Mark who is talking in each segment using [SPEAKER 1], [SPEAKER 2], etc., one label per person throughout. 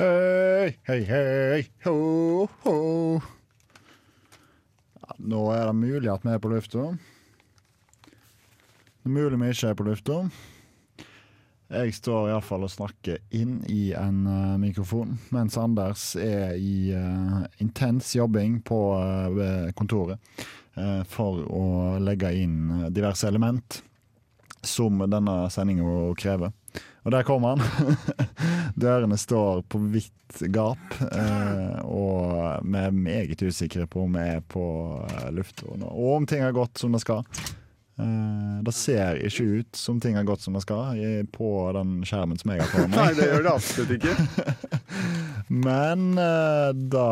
[SPEAKER 1] Hei, hei, hei, ho, ho. Ja, nå er det mulig at vi er på lufta. Det er mulig vi ikke er på lufta. Jeg står iallfall og snakker inn i en eh, mikrofon, mens Anders er i eh, intens jobbing på eh, ved kontoret eh, for å legge inn eh, diverse element som denne sendinga krever. Og der kommer han. Dørene står på vidt gap, eh, og vi er meget usikre på om vi er på eh, lufta nå, og om ting har gått som det skal. Eh, det ser ikke ut som ting har gått som det skal i- på den skjermen som jeg har foran
[SPEAKER 2] Nei,
[SPEAKER 1] meg.
[SPEAKER 2] det gjør det absolutt ikke.
[SPEAKER 1] Men eh, da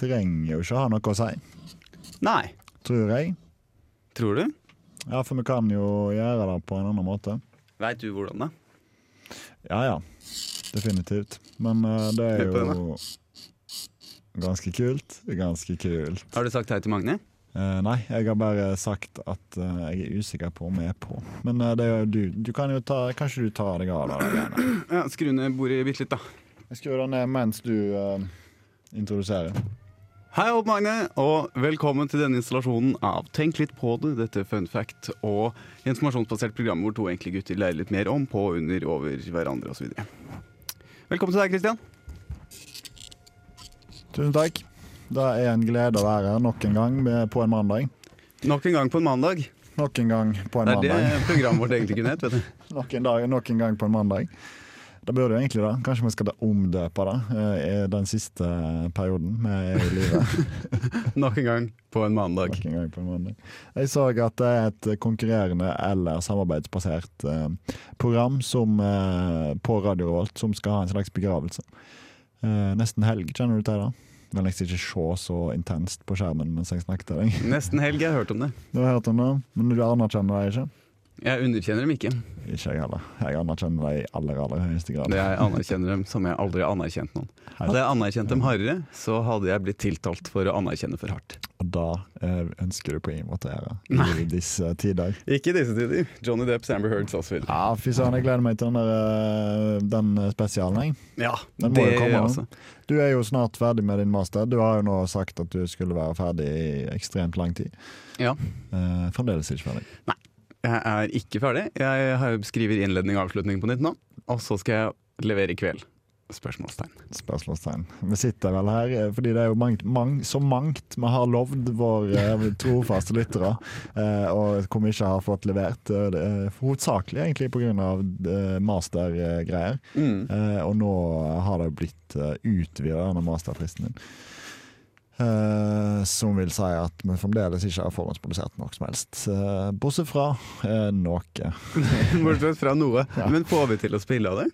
[SPEAKER 1] trenger jo ikke ha noe å si,
[SPEAKER 2] Nei.
[SPEAKER 1] tror jeg.
[SPEAKER 2] Tror du?
[SPEAKER 1] Ja, for vi kan jo gjøre det på en annen måte.
[SPEAKER 2] Veit du hvordan, da?
[SPEAKER 1] Ja ja, definitivt. Men eh, det er
[SPEAKER 2] Hør på den,
[SPEAKER 1] jo ganske kult. Ganske kult.
[SPEAKER 2] Har du sagt hei til Magne?
[SPEAKER 1] Eh, nei, jeg har bare sagt at eh, jeg er usikker på om jeg er på. Men eh, det er jo du. Du kan jo ta Kanskje du tar deg av det? greiene.
[SPEAKER 2] Ja, Skru ned bordet bitte litt, da.
[SPEAKER 1] Jeg skrur det ned mens du eh, introduserer.
[SPEAKER 2] Hei, Odd Magne, og velkommen til denne installasjonen av Tenk litt på det, dette fun fact og informasjonsbasert program hvor to enkle gutter lærer litt mer om, på, under, over hverandre osv. Velkommen til deg, Kristian.
[SPEAKER 1] Tusen takk. Det er en glede å være her nok en gang med- på en mandag.
[SPEAKER 2] Nok en gang på en mandag.
[SPEAKER 1] Nok en gang på en
[SPEAKER 2] Det er
[SPEAKER 1] mandag.
[SPEAKER 2] det programmet vårt egentlig kunne hett. vet du.
[SPEAKER 1] Nok en, dag, nok en gang på en mandag. Det burde jo egentlig det. Kanskje vi skal da omdøpe det eh, i den siste eh, perioden vi er i livet.
[SPEAKER 2] Nok en gang på en mandag.
[SPEAKER 1] Nok en gang på en mandag. Jeg så at det er et konkurrerende eller samarbeidsbasert eh, program som, eh, på Radio Revolt som skal ha en slags begravelse. Eh, nesten helg, kjenner du til det? Du kan liksom ikke se så intenst på skjermen mens jeg snakket til deg.
[SPEAKER 2] Nesten helg, jeg har hørt om det.
[SPEAKER 1] Du har hørt om det, men du anerkjenner det ikke?
[SPEAKER 2] Jeg underkjenner dem ikke.
[SPEAKER 1] Ikke jeg heller. Jeg anerkjenner det i aller, aller høyeste grad.
[SPEAKER 2] Det jeg anerkjenner dem som jeg aldri har anerkjent noen.
[SPEAKER 1] Hei.
[SPEAKER 2] Hadde jeg anerkjent dem hardere, så hadde jeg blitt tiltalt for å anerkjenne for hardt.
[SPEAKER 1] Og da eh, ønsker du på ingen måte å gjøre
[SPEAKER 2] Nei.
[SPEAKER 1] i disse tider.
[SPEAKER 2] Ikke i disse tider. Johnny Depp, Samber Heard, Sassfield.
[SPEAKER 1] Ja, fy søren, jeg gleder meg til den, der, eh, den spesialen, jeg.
[SPEAKER 2] Ja,
[SPEAKER 1] Den må
[SPEAKER 2] det
[SPEAKER 1] jo komme,
[SPEAKER 2] gjør jeg
[SPEAKER 1] da.
[SPEAKER 2] også.
[SPEAKER 1] Du er jo snart ferdig med din master. Du har jo nå sagt at du skulle være ferdig i ekstremt lang tid.
[SPEAKER 2] Ja.
[SPEAKER 1] Eh, fremdeles ikke ferdig.
[SPEAKER 2] Jeg er ikke ferdig. Jeg har- skriver innledning og avslutning på nytt nå. Og så skal jeg levere i kveld. Spørsmålstegn.
[SPEAKER 1] Spørsmålstegn. Vi sitter vel her eh, fordi det er jo mangt, mang, så mangt vi har lovd våre eh, trofaste lyttere, eh, og hvor vi ikke har fått levert. eh, det er Hovedsakelig egentlig pga. eh, mastergreier. Eh, og nå har det jo blitt eh, utvida denne masterfristen din. Eh, som vil si at vi fremdeles ikke har forhåndsprodusert noe som helst. Eh, bortsett fra eh, noe.
[SPEAKER 2] Bortsett fra noe.
[SPEAKER 1] Ja.
[SPEAKER 2] Men får vi til å spille av det?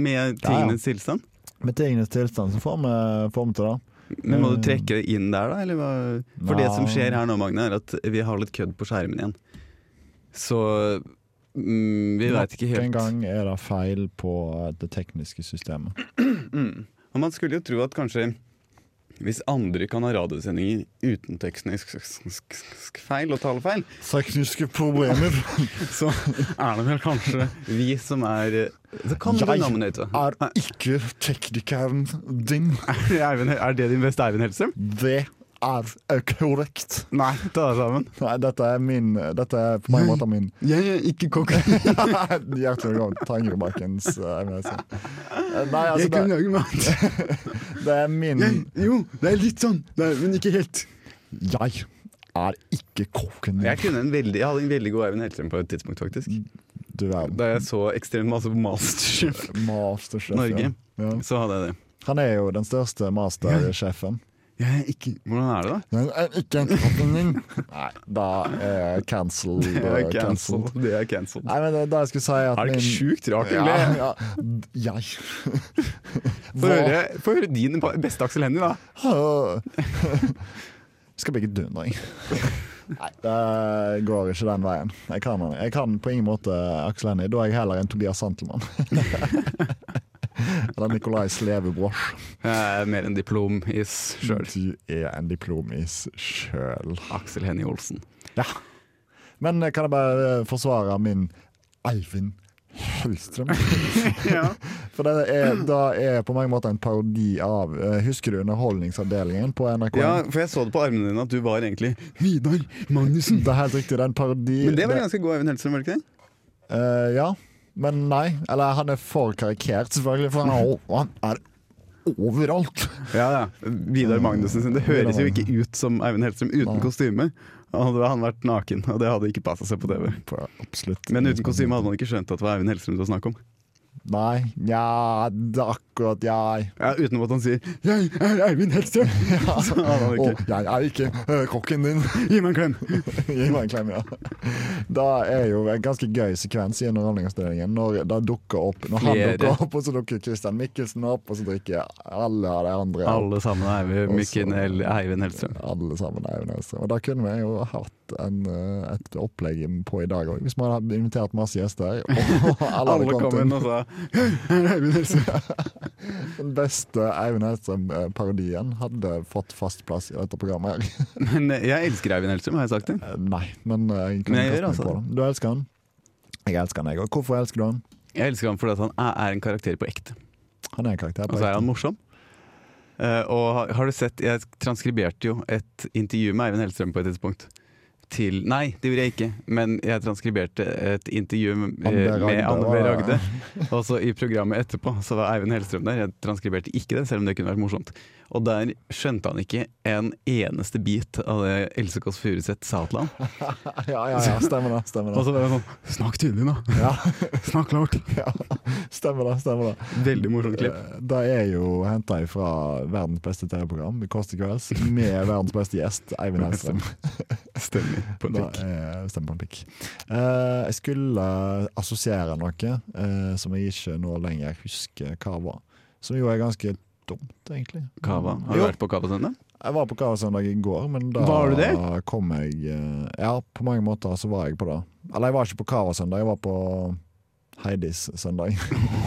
[SPEAKER 2] Med
[SPEAKER 1] Ja, ja.
[SPEAKER 2] tingenes tilstand?
[SPEAKER 1] Med tingenes tilstand så får vi får vi til det.
[SPEAKER 2] Men må du trekke det inn der, da? Eller hva? For det som
[SPEAKER 1] Nei.
[SPEAKER 2] skjer her nå, Magne, er at vi har litt kødd på skjermen igjen. Så mm, vi veit ikke
[SPEAKER 1] Nok en
[SPEAKER 2] helt.
[SPEAKER 1] gang er det feil på eh, det tekniske systemet.
[SPEAKER 2] Mm. Og man skulle jo tro at kanskje hvis andre kan ha radiosendinger uten teknisk sk- sk- sk- feil og talefeil,
[SPEAKER 1] Tekniske problemer
[SPEAKER 2] så er det vel kanskje vi som er eh, The common
[SPEAKER 1] Jeg
[SPEAKER 2] denominator.
[SPEAKER 1] er ikke teknikeren din.
[SPEAKER 2] Er Ah, det Eivind- er det din beste Eivind Hellstrøm?
[SPEAKER 1] Det er korrekt.
[SPEAKER 2] Nei, ta deg sammen.
[SPEAKER 1] Nei, dette er min Dette er på mange måter min
[SPEAKER 2] Jeg er ikke kokk.
[SPEAKER 1] Hjertelig velkommen til Tangerudbakkens eh, MSC. Eh, Nei, altså, det,
[SPEAKER 2] lage mat.
[SPEAKER 1] det er min
[SPEAKER 2] jo, det er litt sånn, men ikke helt.
[SPEAKER 1] Jeg er ikke kokken
[SPEAKER 2] Jeg,
[SPEAKER 1] din.
[SPEAKER 2] kunne en veldig, jeg hadde en veldig god Eivind Hellstrøm på et tidspunkt, faktisk.
[SPEAKER 1] Du er
[SPEAKER 2] Da jeg så ekstremt masse på Masterchef
[SPEAKER 1] masterchef.
[SPEAKER 2] Norge,
[SPEAKER 1] Ja. Ja.
[SPEAKER 2] så hadde jeg det.
[SPEAKER 1] Han er jo den største mastersjefen.
[SPEAKER 2] Jeg er ikke Hvordan er det, da?
[SPEAKER 1] Jeg er eh, ikke kokken din. Nei, da er cancel
[SPEAKER 2] Det er
[SPEAKER 1] cancel.
[SPEAKER 2] cancelled. Det er cancelled.
[SPEAKER 1] Nei, men det, da jeg skulle si at
[SPEAKER 2] Er det ikke
[SPEAKER 1] min-
[SPEAKER 2] sjukt rart,
[SPEAKER 1] Ja,
[SPEAKER 2] egentlig?
[SPEAKER 1] ja. Jeg
[SPEAKER 2] Få høre, få høre din pa- beste Aksel Hennie, da.
[SPEAKER 1] Åh. Skal bygge dundring. Nei, det går ikke den veien. Jeg kan, han- jeg kan på ingen måte Aksel Hennie. Da er jeg heller en Tobias Santelmann. Eller Nikolai Slevebrosch.
[SPEAKER 2] Jeg er mer en diplom i sjøl.
[SPEAKER 1] Du er en diplomis sjøl.
[SPEAKER 2] Aksel Hennie Olsen.
[SPEAKER 1] Men kan jeg bare eh, forsvare min Eivind Hellstrøm?
[SPEAKER 2] Ja.
[SPEAKER 1] For For det er, det er på mange måter en parodi av eh, Husker du Underholdningsavdelingen på NRK?
[SPEAKER 2] Ja, for jeg så det på armene dine at du var egentlig Vidar Magnussen.
[SPEAKER 1] Det er helt riktig, det er en parodi.
[SPEAKER 2] Men det var ganske god Eivind Hellstrøm, var det ikke det?
[SPEAKER 1] Eh, ja, men nei. Eller han er for karikert, selvfølgelig, for han er, o- han er overalt.
[SPEAKER 2] Ja, ja. Vidar Magnussen sin. Det høres jo ikke ut som Eivind Hellstrøm uten kostyme. Hadde han vært naken, og det hadde ikke passa seg på TV.
[SPEAKER 1] På absolutt.
[SPEAKER 2] Men uten kostyme hadde man ikke skjønt at det var Eivind Hellstrøm det var snakk om.
[SPEAKER 1] Nei, ja, det er akkurat jeg.
[SPEAKER 2] Ja, Utenom at han sier 'Jeg er Eivind Hellstrøm'! Så hadde han
[SPEAKER 1] Og
[SPEAKER 2] ikke
[SPEAKER 1] jeg er ikke eh, kokken din.
[SPEAKER 2] Gi meg en klem!
[SPEAKER 1] Gi meg en klem, ja. Det er jo en ganske gøy sekvens i Underholdningsavdelingen når det dukker opp Når han
[SPEAKER 2] Flere.
[SPEAKER 1] dukker opp, og så dukker Christian Mikkelsen opp, og så drikker alle av de andre. opp.
[SPEAKER 2] Alle sammen er Eivind, Mikken
[SPEAKER 1] Mikken
[SPEAKER 2] eller Eivind Hellstrøm.
[SPEAKER 1] Alle sammen er jo neste. Og da kunne vi jo hatt en, eh, et opplegg på i dag òg, hvis vi hadde invitert masse gjester. Og alle
[SPEAKER 2] Alle
[SPEAKER 1] hadde
[SPEAKER 2] kom inn og sa 'Jeg er Eivind Hellstrøm'.
[SPEAKER 1] Den beste Eivind Hellstrøm-parodien hadde fått fast plass i dette programmet. her.
[SPEAKER 2] Men eh, jeg elsker Eivind Hellstrøm, har jeg sagt det?
[SPEAKER 1] Eh, Nei, men eh, jeg kan
[SPEAKER 2] Men jeg
[SPEAKER 1] kaste
[SPEAKER 2] gjør
[SPEAKER 1] meg
[SPEAKER 2] altså
[SPEAKER 1] på
[SPEAKER 2] det.
[SPEAKER 1] den. Du elsker han. Jeg elsker han, jeg òg. Hvorfor elsker du han?
[SPEAKER 2] Jeg elsker ham fordi at han er- er en karakter på ekte.
[SPEAKER 1] Han er en karakter. på
[SPEAKER 2] Og så er
[SPEAKER 1] ekte.
[SPEAKER 2] han morsom. Eh, og har, har du sett Jeg transkriberte jo et intervju med Eivind Hellstrøm på et tidspunkt. Til Nei, det gjorde jeg ikke, men jeg transkriberte et intervju med,
[SPEAKER 1] Anne B.
[SPEAKER 2] eh, med
[SPEAKER 1] Ragde,
[SPEAKER 2] Anne B.
[SPEAKER 1] var-
[SPEAKER 2] Ragde. Og så i programmet etterpå så var Eivind Hellstrøm der. Jeg transkriberte ikke det, selv om det kunne vært morsomt. Og der skjønte han ikke en eneste bit av det Else Kåss Furuseth sa til ham.
[SPEAKER 1] Ja, ja, ja, stemmer det. Stemmer
[SPEAKER 2] Og
[SPEAKER 1] det.
[SPEAKER 2] så var han sånn Snakk tydelig, da!
[SPEAKER 1] Ja,
[SPEAKER 2] Snakk klart!
[SPEAKER 1] ja, stemmer det, stemmer det.
[SPEAKER 2] Veldig morsomt klipp.
[SPEAKER 1] Eh, Det er jo henta fra verdens beste TV-program, Kåss til kvelds, med verdens beste gjest, Eivind Hellstrøm.
[SPEAKER 2] Stemmer. På
[SPEAKER 1] Da er stemmer på en pikk. Eh, jeg skulle assosiere noe eh, som jeg ikke nå lenger husker hva var. Som jo er ganske dumt, egentlig. Mm.
[SPEAKER 2] Kava. Har du
[SPEAKER 1] Jo.
[SPEAKER 2] vært på Kava søndag?
[SPEAKER 1] Jeg var på Kavasøndag i går, men da
[SPEAKER 2] Var du det?
[SPEAKER 1] kom jeg eh, Ja, på mange måter så var jeg på det. Eller jeg var ikke på Kavasøndag, jeg var på Heidis søndag.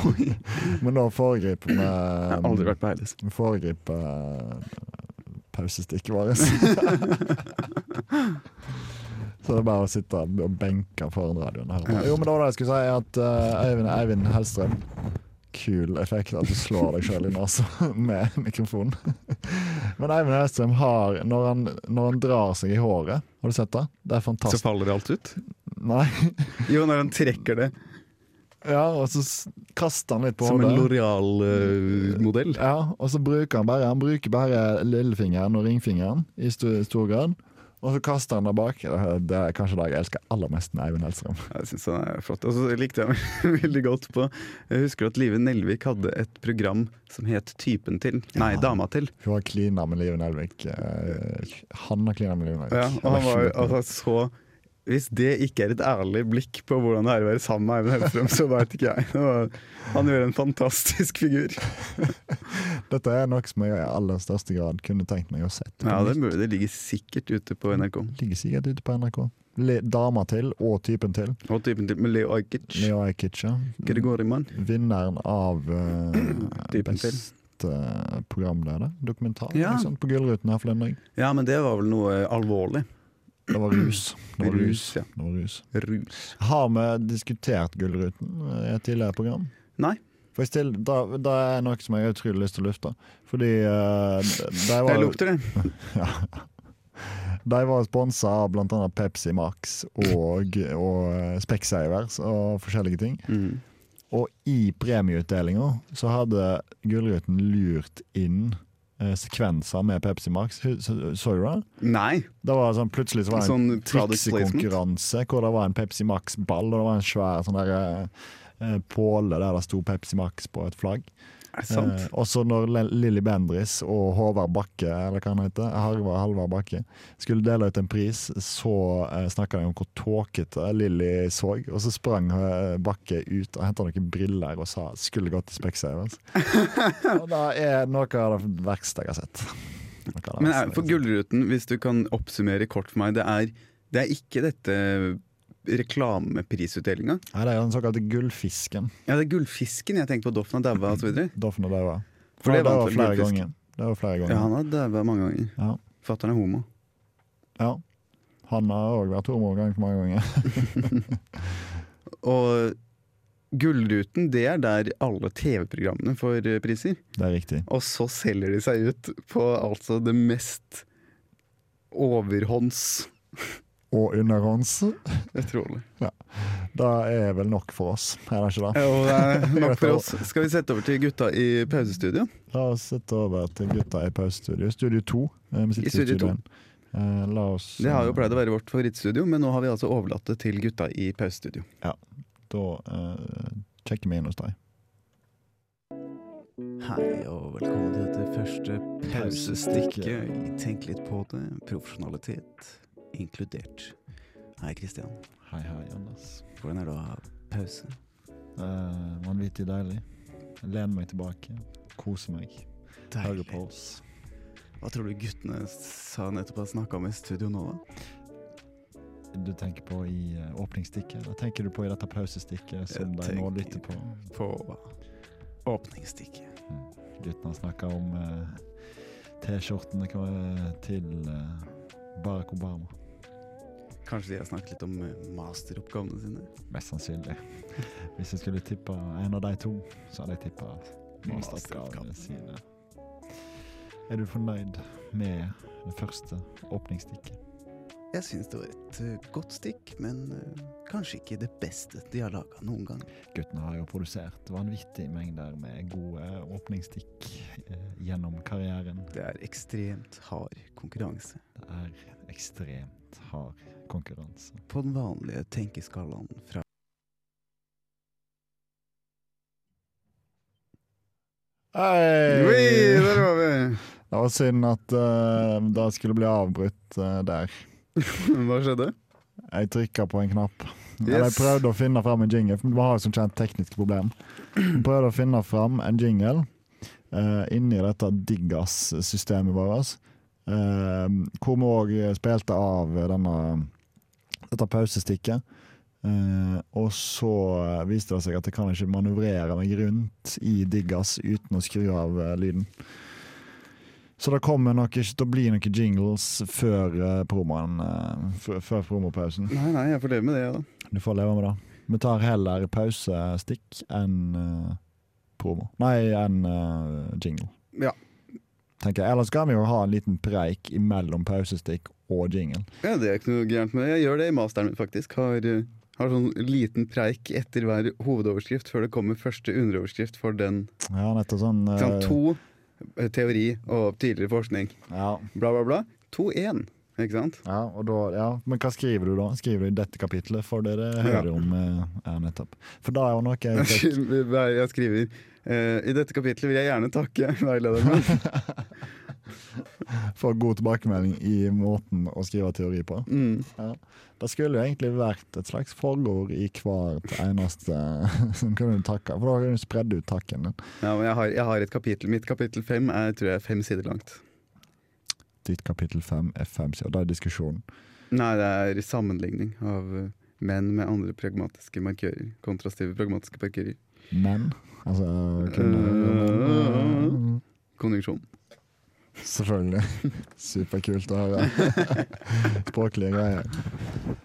[SPEAKER 1] men da foregriper
[SPEAKER 2] Jeg har aldri
[SPEAKER 1] vi
[SPEAKER 2] vært på Heides.
[SPEAKER 1] Foregriper eh, pausestikket vårt. Så det er bare å sitte og benke foran radioen. Her.
[SPEAKER 2] Ja.
[SPEAKER 1] Jo, men det var det jeg skulle si, er at eh, Eivind, Eivind Hellstrøm Kul effekt at du slår deg sjøl i nesa med mikrofonen. Men Eivind Hellstrøm har når han, når han drar seg i håret Har du sett det? Det er
[SPEAKER 2] Så
[SPEAKER 1] fantastisk.
[SPEAKER 2] faller alt ut?
[SPEAKER 1] Nei.
[SPEAKER 2] Jo, når han trekker det
[SPEAKER 1] Ja, og så s- kaster han litt på
[SPEAKER 2] som en
[SPEAKER 1] hodet.
[SPEAKER 2] Loreal-modell.
[SPEAKER 1] Ja, og så bruker han bare Han bruker bare lillefingeren og ringfingeren i sto- stor grad. Og så kaster han det bak. Det er kanskje det jeg elsker aller mest med Eivind Hellstrøm.
[SPEAKER 2] Jeg syns han er flott. Og så likte jeg meg veldig godt på Jeg husker at Live Nelvik hadde et program som het Typen til. Nei, Dama til.
[SPEAKER 1] Hun har klina med Liven Elvik. Eh, Han har klina med Liven Elvik.
[SPEAKER 2] Ja, og han var jo altså, så Hvis det ikke er et ærlig blikk på hvordan det er å være sammen med Eivind Hellstrøm, så veit ikke jeg. Det var- Han gjør en fantastisk figur.
[SPEAKER 1] Dette er noe som jeg i aller største grad kunne tenkt meg å sett.
[SPEAKER 2] Ja, det, burde- det ligger sikkert ute på NRK.
[SPEAKER 1] ligger sikkert ute på NRK. Le Dama til, og typen til.
[SPEAKER 2] Og Typen til med Leo Ajkic.
[SPEAKER 1] Leo Ajkic, ja.
[SPEAKER 2] Gregoriman.
[SPEAKER 1] Vinneren av eh,
[SPEAKER 2] Typen til.
[SPEAKER 1] beste programleder. Dokumentar
[SPEAKER 2] Ja.
[SPEAKER 1] ikke sant, på Gullruten her forleden dag.
[SPEAKER 2] Ja, men det var vel noe alvorlig.
[SPEAKER 1] Det var rus. Det var rus.
[SPEAKER 2] Rus, ja.
[SPEAKER 1] Det var rus.
[SPEAKER 2] Rus.
[SPEAKER 1] Har vi diskutert Gullruten eh, i et tidligere program?
[SPEAKER 2] Nei.
[SPEAKER 1] For jeg still, da, da er noe som jeg har utrolig lyst til å lufte. Fordi eh, det- det var
[SPEAKER 2] Jeg
[SPEAKER 1] jo-
[SPEAKER 2] lukter det.
[SPEAKER 1] De var sponsa av bl.a. Pepsi Max og, og eh, Specsavers og forskjellige ting.
[SPEAKER 2] Mm.
[SPEAKER 1] Og i premieutdelinga så hadde Gullruten lurt inn eh, sekvenser med Pepsi Max. Hu- Så, så du det?
[SPEAKER 2] Nei.
[SPEAKER 1] Det var sånn, plutselig så var det en
[SPEAKER 2] Sånn product placement.
[SPEAKER 1] triksekonkurranse hvor det var en Pepsi Max-ball og det var en svær sånn der, eh, eh, påle der det sto Pepsi Max på et flagg.
[SPEAKER 2] Er det sant?
[SPEAKER 1] Eh, også når Le- Lilly Bendris og Håvard Bakke, eller hva han heter, Halvard, Halvard Bakke, skulle dele ut en pris, så eh, snakka de om hvor tåkete Lilly så, og så sprang eh, Bakke ut og henta noen briller og sa 'skulle gått til Specsavers'. Og det er noe av det verste jeg har sett. Noe av det verste
[SPEAKER 2] Men er, for
[SPEAKER 1] jeg har sett.
[SPEAKER 2] Gullruten, hvis du kan oppsummere kort for meg, det er, det er ikke dette reklameprisutdelinga.
[SPEAKER 1] Nei, det er jo den såkalte gullfisken.
[SPEAKER 2] Ja, det er Gullfisken jeg tenkte på. Doffen har daua osv.
[SPEAKER 1] Doffen og daua.
[SPEAKER 2] For det
[SPEAKER 1] Ja, var
[SPEAKER 2] vant vel
[SPEAKER 1] flere
[SPEAKER 2] gullfisken.
[SPEAKER 1] ganger. Det var flere
[SPEAKER 2] Ja,
[SPEAKER 1] ganger.
[SPEAKER 2] han har daua mange ganger.
[SPEAKER 1] Ja.
[SPEAKER 2] Fatter'n er homo.
[SPEAKER 1] Ja. Han har òg vært homo ganske mange ganger.
[SPEAKER 2] Og Gullruten det er der alle TV-programmene får eh, priser.
[SPEAKER 1] Det er riktig.
[SPEAKER 2] Og så selger de seg ut på altså det mest overhånds
[SPEAKER 1] Og underhånds.
[SPEAKER 2] Utrolig.
[SPEAKER 1] Det er vel nok for oss, er det ikke det?
[SPEAKER 2] Og det er nok for oss. Skal vi sette over til gutta i pausestudio?
[SPEAKER 1] La oss sette over til gutta i pausestudio. Studio 2. eh, Vi sitter
[SPEAKER 2] I Studio
[SPEAKER 1] i studioen. Eh, La oss
[SPEAKER 2] Det har jo
[SPEAKER 1] eh,
[SPEAKER 2] pleid å være vårt favorittstudio, men nå har vi altså overlatt det til gutta i pausestudio.
[SPEAKER 1] Da eh, sjekker vi inn hos deg.
[SPEAKER 2] Hei og velkommen til dette første
[SPEAKER 1] pausestikket
[SPEAKER 2] Tenk litt på det. Profesjonalitet inkludert. Hei, Kristian.
[SPEAKER 1] Hei, hei, Anders.
[SPEAKER 2] Hvordan er det å ha pause?
[SPEAKER 1] Eh, Vanvittig deilig. Jeg lener meg tilbake, koser meg, hører på oss.
[SPEAKER 2] Hva tror du guttene sa nettopp at snakka om i studio nå, da?
[SPEAKER 1] Du tenker på i eh, åpningsstikket? Hva tenker du på i dette pausestikket som
[SPEAKER 2] Jeg
[SPEAKER 1] de nå
[SPEAKER 2] tenker-
[SPEAKER 1] lytter på?
[SPEAKER 2] På åpningsstikket.
[SPEAKER 1] Guttene snakker om eh, T-skjortene hva- til eh, Barack Obama.
[SPEAKER 2] Kanskje de har snakket litt om eh, masteroppgavene sine?
[SPEAKER 1] Mest sannsynlig. Hvis jeg skulle tippe en av de to, så hadde jeg tippa masteroppgavene
[SPEAKER 2] Masteroppgavene.
[SPEAKER 1] sine. Er du fornøyd med det første åpningsstikket?
[SPEAKER 2] Jeg syns det var et eh, godt stikk, men eh, kanskje ikke det beste de har laga noen gang.
[SPEAKER 1] Guttene har jo produsert vanvittige mengder med gode åpningsstikk eh, gjennom karrieren.
[SPEAKER 2] Det er ekstremt hard konkurranse.
[SPEAKER 1] Det er ekstremt hard konkurranse.
[SPEAKER 2] På den vanlige tenkeskalaen fra Oi,
[SPEAKER 1] Hei!
[SPEAKER 2] der var vi!
[SPEAKER 1] Det var synd at eh, det skulle bli avbrutt eh, der.
[SPEAKER 2] Hva skjedde?
[SPEAKER 1] Jeg trykka på en knapp. Eller jeg
[SPEAKER 2] Yes.
[SPEAKER 1] prøvde å finne fram en jingle, for vi har jo som kjent tekniske problem. Prøvde å finne fram en jingle eh, inni dette diggas-systemet vårt. eh, hvor vi òg spilte av denne, dette pausestikket. Eh, og så eh, viste det seg at jeg kan ikke manøvrere meg rundt i diggas uten å skru av eh, lyden. Så det kommer nok ikke til å bli noen jingles før, eh, promoen, eh, f- før promopausen.
[SPEAKER 2] Nei, nei, jeg får leve med det, jeg, da.
[SPEAKER 1] Du får leve med det. Vi tar heller pausestikk enn eh, promo. Nei, enn eh, jingle.
[SPEAKER 2] Ja.
[SPEAKER 1] Tenker jeg. Ellers kan vi jo ha en liten preik imellom pausestikk og jingle.
[SPEAKER 2] Ja, Det er ikke noe gærent med det. Jeg gjør det i masteren min, faktisk. Har, eh, har sånn liten preik etter hver hovedoverskrift før det kommer første underoverskrift for den.
[SPEAKER 1] Ja, nettopp sånn eh,
[SPEAKER 2] Sånn, to eh, teori og tidligere forskning.
[SPEAKER 1] ja,
[SPEAKER 2] Bla, bla, bla. To én, ikke sant?
[SPEAKER 1] ja, og da, ja, men hva skriver du da? Skriver du i dette kapitlet? For det det
[SPEAKER 2] Ja.
[SPEAKER 1] hører om eh, Ja, nettopp. For da er jo noe jeg fikk
[SPEAKER 2] Nei, jeg skriver eh, I dette kapitlet vil jeg gjerne takke veilederen min.
[SPEAKER 1] for god tilbakemelding i måten å skrive teori på.
[SPEAKER 2] Mm.
[SPEAKER 1] Det skulle jo egentlig vært et slags forord i hvert eneste som kunne du takke. For da kunne du spredd ut takken din.
[SPEAKER 2] Ja, men jeg har, jeg har et kapittel. Mitt kapittel fem er tror jeg, fem sider langt.
[SPEAKER 1] Ditt kapittel fem er fem sider. Det er diskusjonen.
[SPEAKER 2] Nei, det er sammenligning av eh, menn med andre pragmatiske markører. Kontrastive pragmatiske markører.
[SPEAKER 1] Men altså kunne,
[SPEAKER 2] Konjunksjon.
[SPEAKER 1] Selvfølgelig. Superkult å høre. Språklige greier.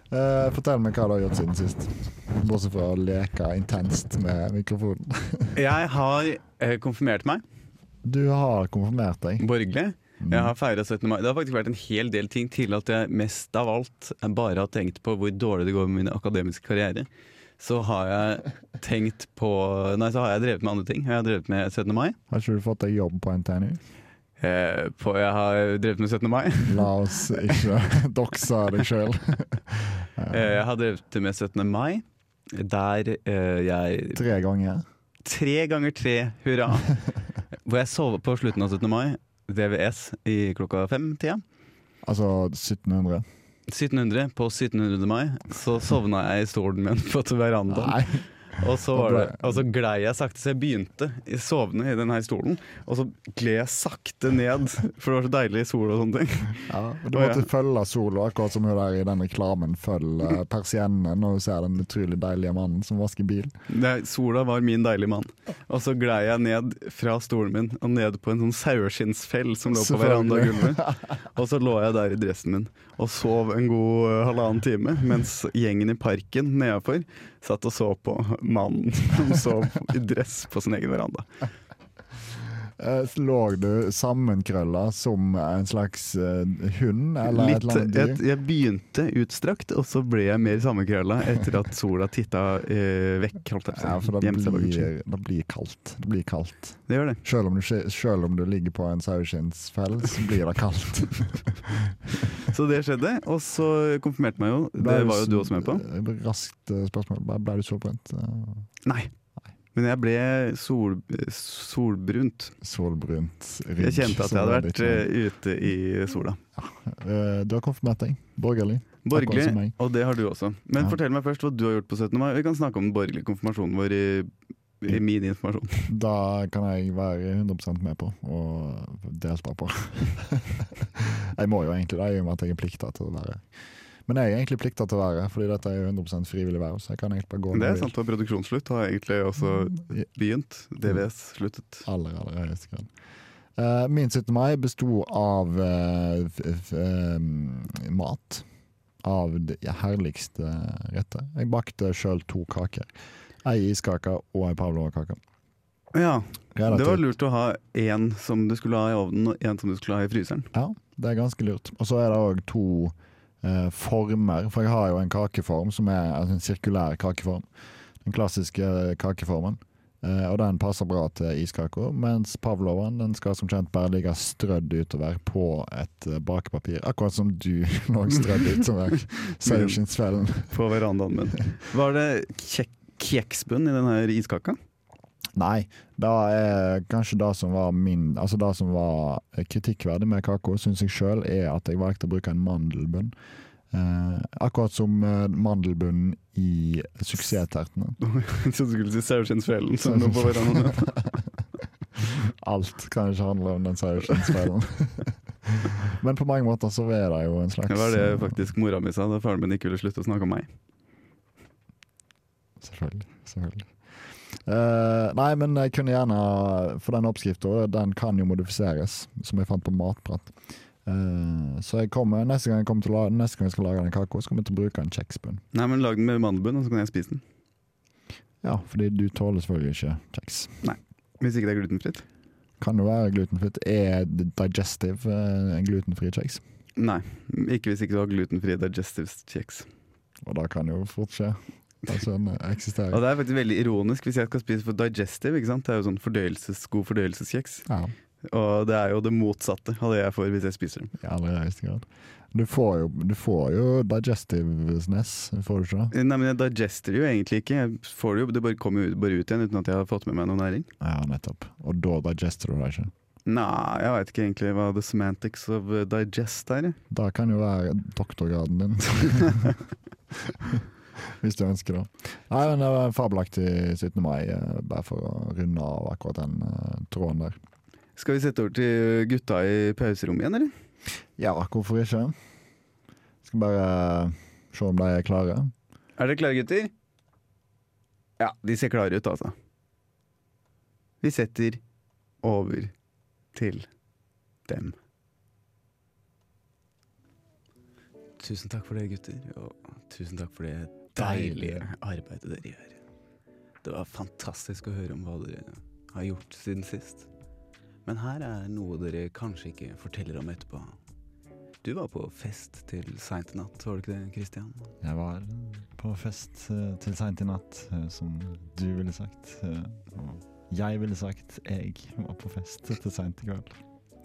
[SPEAKER 1] Eh, fortell meg hva du har gjort siden sist. Bortsett fra å leke intenst med mikrofonen.
[SPEAKER 2] Jeg har eh, konfirmert meg.
[SPEAKER 1] Du har konfirmert deg. Mm.
[SPEAKER 2] Borgerlig. Jeg har feira 17. mai. Det har faktisk vært en hel del ting til at jeg mest av alt bare har tenkt på hvor dårlig det går med min akademiske karriere. Så har jeg tenkt på Nei, så har jeg drevet med andre ting. Jeg har drevet med 17. mai.
[SPEAKER 1] Har ikke du fått deg jobb på NTNU?
[SPEAKER 2] Eh, på, jeg har drevet med 17. mai.
[SPEAKER 1] La oss ikke dokse deg sjøl.
[SPEAKER 2] Eh, jeg har drevet med 17. mai. Der eh, jeg
[SPEAKER 1] Tre ganger.
[SPEAKER 2] Tre ganger tre, hurra! Hvor jeg sov på slutten av 17. mai. DVS i klokka fem-tida.
[SPEAKER 1] Altså 1700.
[SPEAKER 2] 1700 på 1700. mai. Så sovna jeg i stolen min på verandaen.
[SPEAKER 1] Nei.
[SPEAKER 2] Og så, var det, og så glei jeg sakte, så jeg begynte i- sovende i den her stolen. Og så gled jeg sakte ned, for det var så deilig sol og sånne ting.
[SPEAKER 1] Ja, du
[SPEAKER 2] Å, ja.
[SPEAKER 1] måtte følge sola, akkurat som hun der i den reklamen følger persiennene når hun ser den utrolig deilige mannen som vasker bil.
[SPEAKER 2] Nei, sola var min deilige mann. Og så glei jeg ned fra stolen min og ned på en sånn saueskinnsfell som lå på
[SPEAKER 1] Selvfølgelig.
[SPEAKER 2] verandagulvet. Og så lå jeg der i dressen min og sov en god eh, halvannen time, mens gjengen i parken nedafor satt og så på mannen som sov i dress på sin egen veranda.
[SPEAKER 1] Eh, Lå du sammenkrølla som en slags eh, hund eller et
[SPEAKER 2] Litt,
[SPEAKER 1] eller annet dyr?
[SPEAKER 2] jeg, jeg begynte utstrakt, og så ble jeg mer sammenkrølla etter at sola titta eh, vekk. Holdt jeg på å si.
[SPEAKER 1] Ja, for det
[SPEAKER 2] Gjemt seg bak en skygge.
[SPEAKER 1] blir, det blir kaldt. Det blir kaldt.
[SPEAKER 2] Det gjør det.
[SPEAKER 1] Selv om du, ikke- selv om du ligger på en saueskinnsfell, så blir det kaldt.
[SPEAKER 2] Så det skjedde. Og så konfirmerte meg jo. Det var jo du også med på.
[SPEAKER 1] Eh, Raskt eh, spørsmål. Ble- Ble du solbrent? Eh,
[SPEAKER 2] Nei. Men jeg ble sol, solbrunt.
[SPEAKER 1] Solbrunt rygg.
[SPEAKER 2] Jeg kjente at
[SPEAKER 1] så
[SPEAKER 2] jeg hadde
[SPEAKER 1] var det sånn.
[SPEAKER 2] vært
[SPEAKER 1] ikke-
[SPEAKER 2] eh, ute i sola.
[SPEAKER 1] Eh, Du har konfirmert deg. Borgerlig.
[SPEAKER 2] Borgerlig,
[SPEAKER 1] som meg.
[SPEAKER 2] og det har du også. Men
[SPEAKER 1] Ja.
[SPEAKER 2] fortell meg først hva du har gjort på 17. mai. Vi kan snakke om den borgerlige konfirmasjonen vår i, i min informasjon.
[SPEAKER 1] Da kan jeg være 100 med på og delta på. jeg må jo egentlig det, i og med at jeg er plikta til å være Men jeg er egentlig plikta til å være, fordi dette er jo 100 frivillig verv. Så jeg kan egentlig bare gå når
[SPEAKER 2] Det
[SPEAKER 1] jeg
[SPEAKER 2] er sant, og produksjonsslutt har egentlig også
[SPEAKER 1] vil.
[SPEAKER 2] begynt. DVS sluttet.
[SPEAKER 1] aller, aller høyeste grad. Eh, min 17. mai besto av eh, f f em, mat. Av de herligste retter. Jeg bakte sjøl to kaker. Ei iskake og ei pavlova-kake.
[SPEAKER 2] Ja, det var
[SPEAKER 1] Relativt-
[SPEAKER 2] lurt å ha én som du skulle ha i ovnen, og én som du skulle ha i fryseren.
[SPEAKER 1] Ja, det er ganske lurt. Og så er det òg to eh, former, for jeg har jo en kakeform som er altså en sirkulær kakeform. Den klassiske kakeformen. Eh, og den passer bra til iskaka, mens pavlovaen den skal som kjent bare ligge strødd utover på et eh, bakepapir. Akkurat som du lå strødd utover saueskinnsfellen.
[SPEAKER 2] på verandaen min. Var det kjek kjeksbunn i den her iskaka?
[SPEAKER 1] Nei, det er kanskje det som var min Altså det som var eh, kritikkverdig med kaka, syns jeg sjøl, er at jeg valgte å bruke en mandelbunn. Eh, akkurat som eh, mandelbunnen i suksesstertene.
[SPEAKER 2] Jeg trodde du skulle si saueskinnsfjellen som lå på verandaen min.
[SPEAKER 1] Alt kan ikke handle om den saueskinnsfellen. Men på mange måter så er det jo en slags
[SPEAKER 2] Det var det faktisk mora mi sa da faren min ikke ville slutte å snakke om meg.
[SPEAKER 1] Selvfølgelig. selvfølgelig. Eh, nei, men jeg kunne gjerne For den oppskrifta, den kan jo modifiseres, som jeg fant på Matprat. Eh, så jeg kommer, neste gang jeg, kommer til å, la- neste gang jeg skal lage den kaka, skal vi til å bruke en kjeksbunn.
[SPEAKER 2] Nei, men lag den med mandelbunn, og så kan jeg spise den.
[SPEAKER 1] Ja, fordi du tåler selvfølgelig ikke kjeks.
[SPEAKER 2] Hvis ikke det er glutenfritt.
[SPEAKER 1] Kan jo være glutenfritt. Er digestive eh, glutenfri kjeks?
[SPEAKER 2] Nei, ikke hvis ikke du har glutenfri digestive kjeks.
[SPEAKER 1] Og det kan jo fort skje. Altså, den
[SPEAKER 2] Og
[SPEAKER 1] eksisterer.
[SPEAKER 2] det er faktisk veldig ironisk hvis jeg skal spise for digestive, ikke sant? Det er jo sånn fordøyelses, god fordøyelseskjeks.
[SPEAKER 1] Ja,
[SPEAKER 2] Og det er jo det motsatte av det jeg får hvis jeg spiser den.
[SPEAKER 1] I aller høyeste grad. Du får jo, du får jo digestiveness, får du ikke det?
[SPEAKER 2] Nei, men jeg digester jo egentlig ikke. Jeg får det jo, det bare kommer jo bare ut igjen uten at jeg har fått med meg noe næring.
[SPEAKER 1] Ja, nettopp. Og da digester du det ikke.
[SPEAKER 2] Nei, jeg veit ikke egentlig hva the semantics of eh, digest er. jeg.
[SPEAKER 1] Det kan jo være doktorgraden din. Hvis du ønsker det. Nei, men Det var en fabelaktig 17. mai, eh, bare for å runde av akkurat den eh, tråden der.
[SPEAKER 2] Skal vi sette over til gutta i pauserommet igjen, eller?
[SPEAKER 1] Ja, hvorfor ikke? Skal bare eh, se om de er klare.
[SPEAKER 2] Er dere klare, gutter? Ja, de ser klare ut, altså. Vi setter over til dem. Tusen takk for det, gutter, og tusen takk for det
[SPEAKER 1] deilige
[SPEAKER 2] arbeidet dere gjør. Det var fantastisk å høre om hva dere har gjort siden sist. Men her er noe dere kanskje ikke forteller om etterpå. Du var på fest til seint i natt, var du ikke det, Christian?
[SPEAKER 3] Jeg var på fest eh, til seint i natt, eh, som du ville sagt. eh, Og jeg ville sagt jeg var på fest til seint i kveld.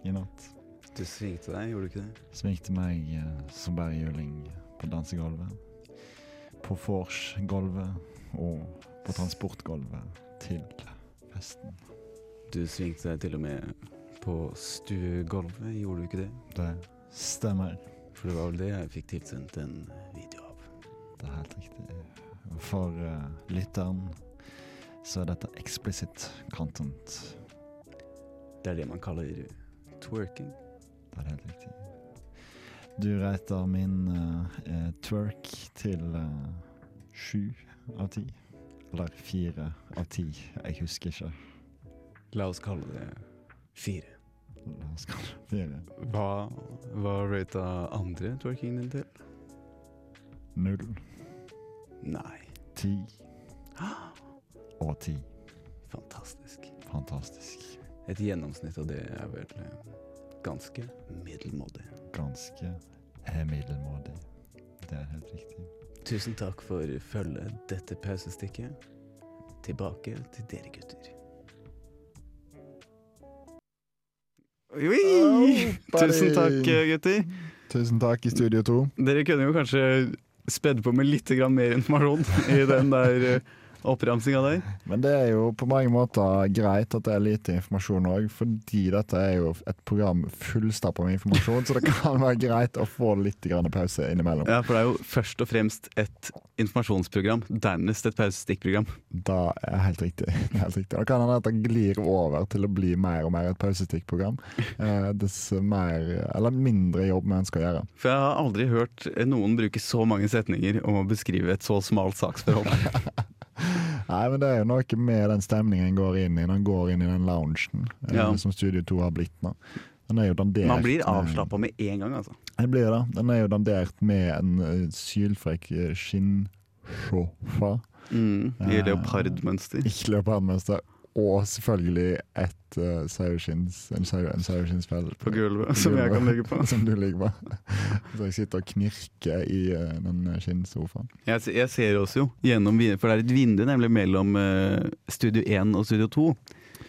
[SPEAKER 3] I natt.
[SPEAKER 2] Du svingte deg, gjorde du ikke det?
[SPEAKER 3] Svingte meg eh, som bare juling på dansegulvet. På vorsgulvet og på transportgulvet til festen.
[SPEAKER 2] Du svingte deg til og med på stuegulvet, gjorde du ikke det?
[SPEAKER 3] Det stemmer.
[SPEAKER 2] For det var vel det jeg fikk tilsendt en video av.
[SPEAKER 3] Det er helt riktig. For eh, lytteren så er dette explicit content.
[SPEAKER 2] Det er det man kaller twerking.
[SPEAKER 3] Det er helt riktig. Du rater min eh, eh, twerk til eh, sju av ti. Eller fire av ti. Jeg husker ikke.
[SPEAKER 2] La oss kalle det fire.
[SPEAKER 3] La oss kalle det fire.
[SPEAKER 2] Hva var rata andre twerkingen din til?
[SPEAKER 3] Null.
[SPEAKER 2] Nei.
[SPEAKER 3] Ti.
[SPEAKER 4] og ti.
[SPEAKER 2] Fantastisk.
[SPEAKER 4] Fantastisk.
[SPEAKER 2] Et gjennomsnitt av det er vel eh, ganske middelmådig.
[SPEAKER 4] Ganske eh, middelmådig. Det er helt riktig.
[SPEAKER 2] Tusen takk for følget dette pausestikket. Tilbake til dere gutter. Tusen takk, eh. gutter.
[SPEAKER 1] Tusen takk i Studio 2.
[SPEAKER 2] Dere kunne jo kanskje spedd på med litt grann mer informasjon i den der eh. oppramsinga der.
[SPEAKER 1] Men det er jo på mange måter greit at det er lite informasjon òg, fordi dette er jo et program fullstappa med informasjon, så det kan være greit å få litt grann pause innimellom.
[SPEAKER 2] Ja, For det er jo først og fremst et informasjonsprogram, dernest et pausestikkprogram.
[SPEAKER 1] Da er helt riktig. Det er helt riktig. Da kan hende at det glir over til å bli mer og mer et pausetikkprogram. Eh, dess mer, eller mindre jobb vi ønsker å gjøre.
[SPEAKER 2] For jeg har aldri hørt noen bruke så mange setninger om å beskrive et så smalt saksforhold.
[SPEAKER 1] Nei, men det er jo noe med den stemningen en går inn i. Den går inn i den loungen eh,
[SPEAKER 2] Ja.
[SPEAKER 1] som Studio 2 har blitt nå. Den er jo dandert
[SPEAKER 2] Man blir
[SPEAKER 1] med-
[SPEAKER 2] avslappa med en gang, altså.
[SPEAKER 1] Den blir det. Den er jo dandert med en eh, sylfrekk eh, skinnskjorte.
[SPEAKER 2] I leopardmønster.
[SPEAKER 1] Ikke leopardmønster. Og selvfølgelig et uh, saueskins, en sau- en saueskinnsfell.
[SPEAKER 2] På gulvet, som jeg kan ligge på.
[SPEAKER 1] Som du ligger på. Så jeg sitter og knirker i eh, den skinnsofaen.
[SPEAKER 2] Jeg, se- jeg ser oss jo gjennom vinduet, for det er et vindu nemlig mellom eh, Studio 1 og Studio 2.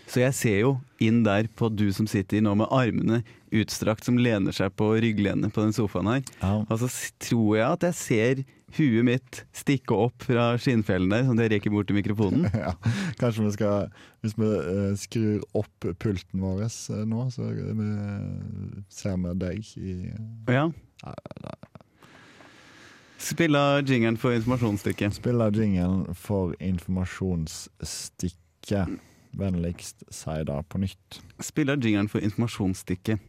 [SPEAKER 2] Så jeg ser jo inn der på du som sitter nå med armene utstrakt, som lener seg på rygglenet på den sofaen her. Og så s- tror jeg at jeg ser huet mitt stikke opp fra skinnfellen der, sånn at jeg reker bort til mikrofonen.
[SPEAKER 1] Ja, kanskje vi skal Hvis vi eh, skrur opp pulten vår eh, nå, så eh, vi ser vi deg i eh,
[SPEAKER 2] Ja. Spille av jingeren for informasjonsstykket.
[SPEAKER 1] Spiller jingelen for informasjonsstikket. Vennligst si det på nytt.
[SPEAKER 2] Spille av jingeren for informasjonsstykket.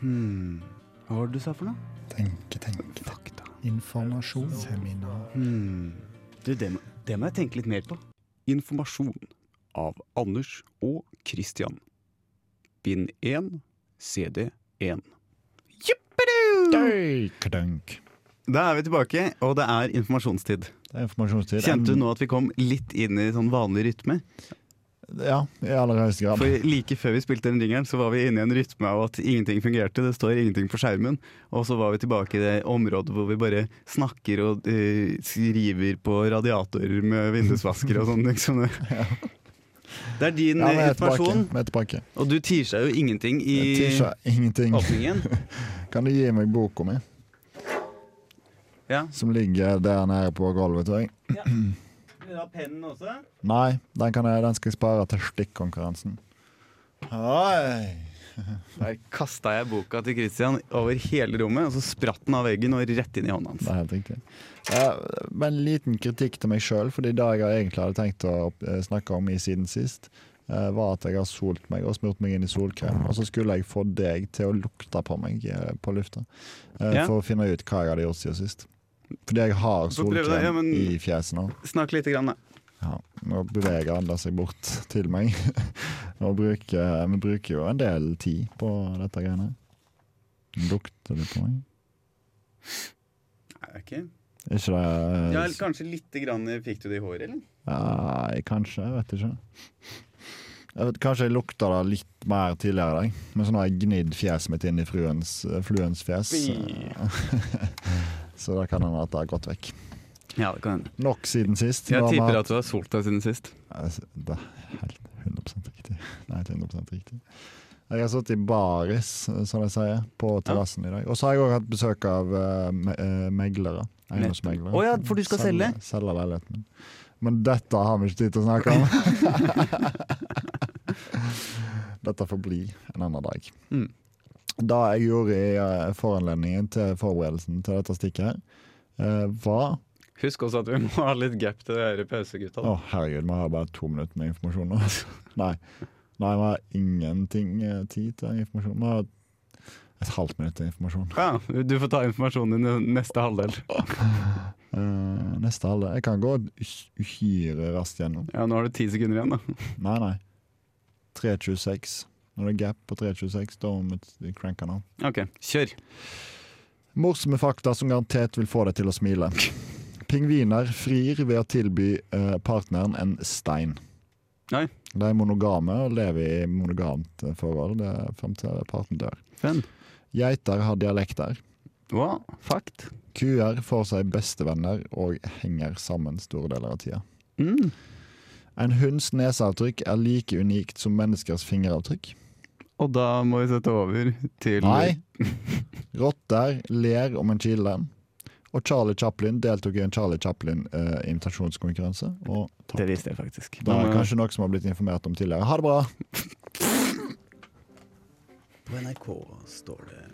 [SPEAKER 2] Hmm. Hva var det du sa for noe?
[SPEAKER 1] Tenke, tenke. Fakta. Informasjon. Seminar.
[SPEAKER 2] Hmm. Du, det, må- det må jeg tenke litt mer på. Informasjon av Anders og Christian. Bind 1, CD 1.
[SPEAKER 1] Døykdønk.
[SPEAKER 2] Da er vi tilbake, og det er informasjonstid.
[SPEAKER 1] Det er informasjonstid.
[SPEAKER 2] Kjente du nå at vi kom litt inn i sånn vanlig rytme?
[SPEAKER 1] Ja, i aller høyeste grad.
[SPEAKER 2] For like før vi spilte den ringeren, så var vi inne i en rytme av at ingenting fungerte. Det står ingenting på skjermen. Og så var vi tilbake i det området hvor vi bare snakker og eh, river på radiatorer med vindusvasker og sånn, liksom. Det er din
[SPEAKER 1] Ja, vi
[SPEAKER 2] eh,
[SPEAKER 1] er tilbake.
[SPEAKER 2] informasjon,
[SPEAKER 1] Vi er tilbake.
[SPEAKER 2] og du tier seg jo ingenting i
[SPEAKER 1] Jeg tisja ingenting.
[SPEAKER 2] åpningen.
[SPEAKER 1] Kan du gi meg boka mi,
[SPEAKER 2] Ja.
[SPEAKER 1] som ligger der nede på gulvet? tror jeg?
[SPEAKER 2] Vil du ha pennen også?
[SPEAKER 1] Nei, den, kan jeg, den skal jeg spare til stikkonkurransen. Hei.
[SPEAKER 2] Der kasta jeg boka til Christian over hele rommet, og så spratt den av veggen og rett inn i hånda hans.
[SPEAKER 1] Det er helt riktig. Eh, men en liten kritikk til meg sjøl, fordi det jeg egentlig hadde tenkt å eh, snakke om i siden sist, eh, var at jeg har solt meg og smurt meg inn i solkrem. Og så skulle jeg få deg til å lukte på meg eh, på lufta eh,
[SPEAKER 2] Ja.
[SPEAKER 1] for å finne ut hva jeg hadde gjort siden sist. Fordi jeg har
[SPEAKER 2] Få prøve det, ja,
[SPEAKER 1] solkrem
[SPEAKER 2] men-
[SPEAKER 1] i fjeset nå.
[SPEAKER 2] Snakk lite grann, da.
[SPEAKER 1] Ja, nå beveger Anders seg bort til meg. Nå bruker, vi bruker jo en del tid på dette greiene. Lukter det på meg?
[SPEAKER 2] Nei, ok.
[SPEAKER 1] Er ikke det eh,
[SPEAKER 2] Ja, kanskje lite grann fikk du det i håret, eller?
[SPEAKER 1] Nei, kanskje. Jeg vet ikke. Jeg vet, kanskje jeg lukta det litt mer tidligere i dag, men så nå har jeg gnidd fjeset mitt inn i fruens, eh, fluens fjes. Så da kan hende at det har gått vekk.
[SPEAKER 2] Ja, det kan hende.
[SPEAKER 1] Nok siden sist.
[SPEAKER 2] Jeg
[SPEAKER 1] Nå har vi
[SPEAKER 2] tipper
[SPEAKER 1] hatt-
[SPEAKER 2] at du har solt deg siden sist.
[SPEAKER 1] Altså, Det er helt 100 riktig. Nei, helt 100 riktig. Jeg har sittet i baris, som de sier, på terrassen i dag. Og så har jeg òg hatt besøk av eh, me eh, meglere. Eiendomsmeglere.
[SPEAKER 2] Å ja, for du skal
[SPEAKER 1] Selge-
[SPEAKER 2] selge?
[SPEAKER 1] Selge leiligheten min. Men dette har vi ikke tid til å snakke om. dette får bli en annen dag.
[SPEAKER 2] Mm.
[SPEAKER 1] Det jeg gjorde i eh, foranledningen til forberedelsen til dette stikket her, eh, var
[SPEAKER 2] Husk også at vi må ha litt gap til de her pausegutta.
[SPEAKER 1] å, herregud, vi har bare to minutter med informasjon nå. altså. Nei, Nei vi har ingenting eh, tid til informasjon. Vi har et halvt minutt til informasjon.
[SPEAKER 2] Ja, du får ta informasjonen din i neste halvdel.
[SPEAKER 1] Eh, neste halvdel Jeg kan gå us- uhyre raskt gjennom.
[SPEAKER 2] Ja, Nå har du ti sekunder igjen, da.
[SPEAKER 1] Nei, nei. 3.26. Når det er gap på 3.26, da må vi cranke den av.
[SPEAKER 2] Ok, kjør.
[SPEAKER 1] Morsomme fakta som garantert vil få deg til å smile. Pingviner frir ved å tilby eh, partneren en stein.
[SPEAKER 5] Nei.
[SPEAKER 1] De er monogame og lever i monogamt eh, forhold eh, fram til parten dør.
[SPEAKER 5] Fenn.
[SPEAKER 1] Geiter har dialekter.
[SPEAKER 5] Hva? Fakt.
[SPEAKER 1] Kuer får seg bestevenner og henger sammen store deler av tida.
[SPEAKER 5] Mm.
[SPEAKER 1] En hunds neseavtrykk er like unikt som menneskers fingeravtrykk.
[SPEAKER 5] Og da må vi sette over til
[SPEAKER 1] Nei. Rotter ler om en kilde. Og Charlie Chaplin deltok i en Charlie Chaplin-invitasjonskonkurranse. og
[SPEAKER 5] Det visste jeg faktisk.
[SPEAKER 1] det er kanskje noe som har blitt informert om tidligere. Ha det bra!
[SPEAKER 2] På NRK står det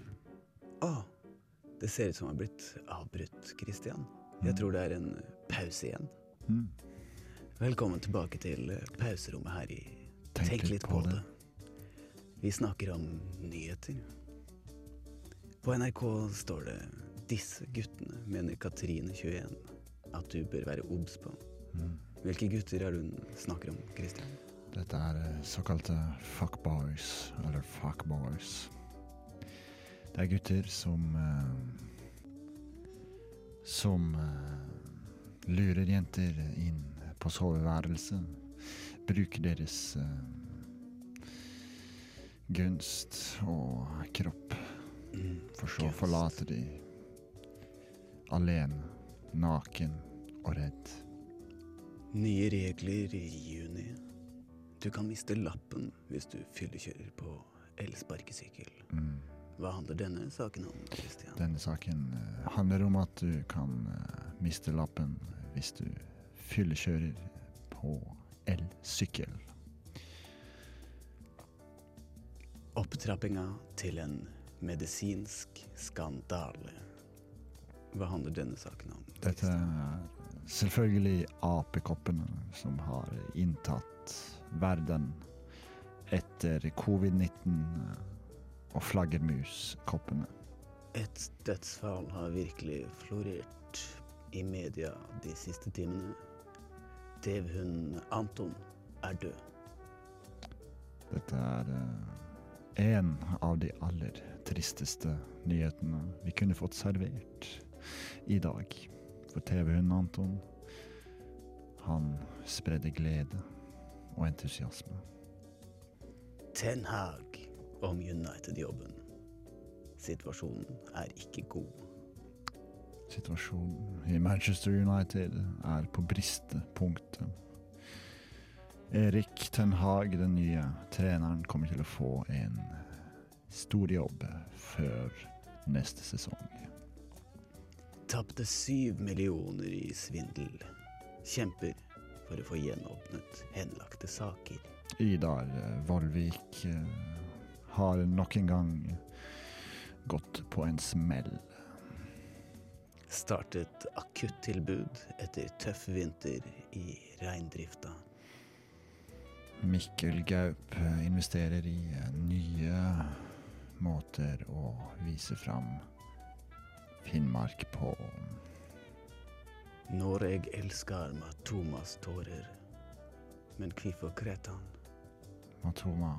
[SPEAKER 2] Å, det ser ut som det har blitt avbrutt, Christian. Jeg tror det er en pause igjen.
[SPEAKER 1] Mm.
[SPEAKER 2] Velkommen tilbake til eh, pauserommet her i Tenk, litt på, det. Vi snakker om nyheter. På NRK står det 'Disse guttene mener Katrine 21 at du bør være obs på'.
[SPEAKER 1] Mm.
[SPEAKER 2] Hvilke gutter er det hun snakker om, Christian?
[SPEAKER 1] Dette er eh, såkalte fuckboys, eller fuckboys. Det er gutter som eh, Som eh, lurer jenter inn på soveværelset. Bruker deres eh, gunst og kropp,
[SPEAKER 2] Mm.
[SPEAKER 1] for så å
[SPEAKER 2] gunst.
[SPEAKER 1] forlate de alene, naken og redd.
[SPEAKER 2] Nye regler i juni. Du kan miste lappen hvis du fyllekjører på elsparkesykkel.
[SPEAKER 1] Mm.
[SPEAKER 2] Hva handler denne saken om, Christian?
[SPEAKER 1] Denne saken eh, handler om at du kan eh, miste lappen hvis du fyllekjører på elsykkel.
[SPEAKER 2] Opptrappinga til en medisinsk skandale. Hva handler denne saken om?
[SPEAKER 1] Dette er selvfølgelig apekoppene som har inntatt verden etter covid-19 og flaggermuskoppene.
[SPEAKER 2] Et dødsfall har virkelig florert i media de siste timene. Devhunden Anton er død.
[SPEAKER 1] Dette er eh, en av de aller tristeste nyhetene vi kunne fått servert i dag. For TV-hunden Anton, han spredde glede og entusiasme.
[SPEAKER 2] Ten Hag om United-jobben. Situasjonen er ikke god.
[SPEAKER 1] Situasjonen i Manchester United er på bristepunktet. Erik Ten Hag, den nye treneren, kommer til å få en stor jobb før neste sesong.
[SPEAKER 2] Tapte syv millioner i svindel. Kjemper for å få gjenåpnet henlagte saker.
[SPEAKER 1] Idar eh, Vollvik eh, har nok en gang gått på en smell.
[SPEAKER 2] Startet akuttilbud etter tøff vinter i reindrifta.
[SPEAKER 1] Mikkel Gaup eh, investerer i eh, nye måter å vise fram Finnmark på.
[SPEAKER 2] Når jeg elsker Matomas tårer, men hvorfor gråt han?
[SPEAKER 1] Matoma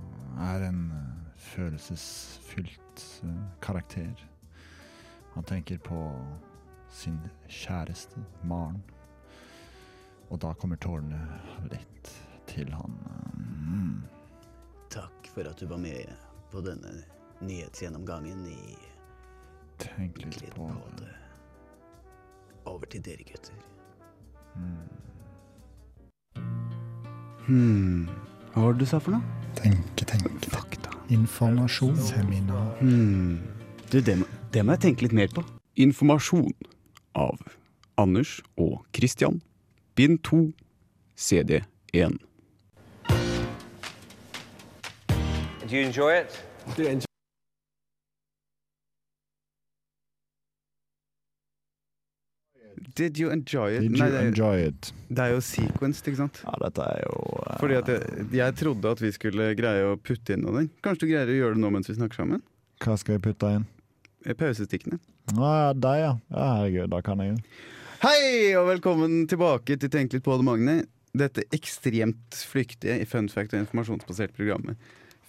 [SPEAKER 1] er en eh, følelsesfylt eh, karakter. Han tenker på sin kjæreste, Maren. Og da kommer tårene rett til han. Mm.
[SPEAKER 2] Takk for at du var med på denne nyhetsgjennomgangen i
[SPEAKER 1] Tenk litt
[SPEAKER 2] Litt
[SPEAKER 1] på
[SPEAKER 2] på
[SPEAKER 1] det.
[SPEAKER 2] det. Over til dere, gutter.
[SPEAKER 1] Mm.
[SPEAKER 5] Hmm. Hva var det du sa for noe?
[SPEAKER 6] Tenke, tenke.
[SPEAKER 5] Fakta.
[SPEAKER 6] Informasjon. Seminar.
[SPEAKER 5] Hmm. Du, det må, det må jeg tenke litt mer på. Informasjon av Anders og Christian. Bind 2, CD 1.
[SPEAKER 7] Do you enjoy it?
[SPEAKER 5] Did you enjoy it?
[SPEAKER 1] Did
[SPEAKER 5] Nei,
[SPEAKER 1] you
[SPEAKER 5] det, er-
[SPEAKER 1] enjoy it?
[SPEAKER 5] det er jo sequenced, ikke sant?
[SPEAKER 6] Ja, dette er jo eh,
[SPEAKER 5] Fordi at jeg, jeg trodde at vi skulle greie å putte inn noe der. Kanskje du greier å gjøre det nå mens vi snakker sammen?
[SPEAKER 1] Hva skal jeg putte inn?
[SPEAKER 5] Eh, Pausestikkene.
[SPEAKER 1] Å ja, deg, ja. ja. Herregud, da kan jeg jo.
[SPEAKER 5] Hei, og velkommen tilbake til Tenk litt på det, Magne. Dette ekstremt flyktige i fun fact- og informasjonsbasert programmet.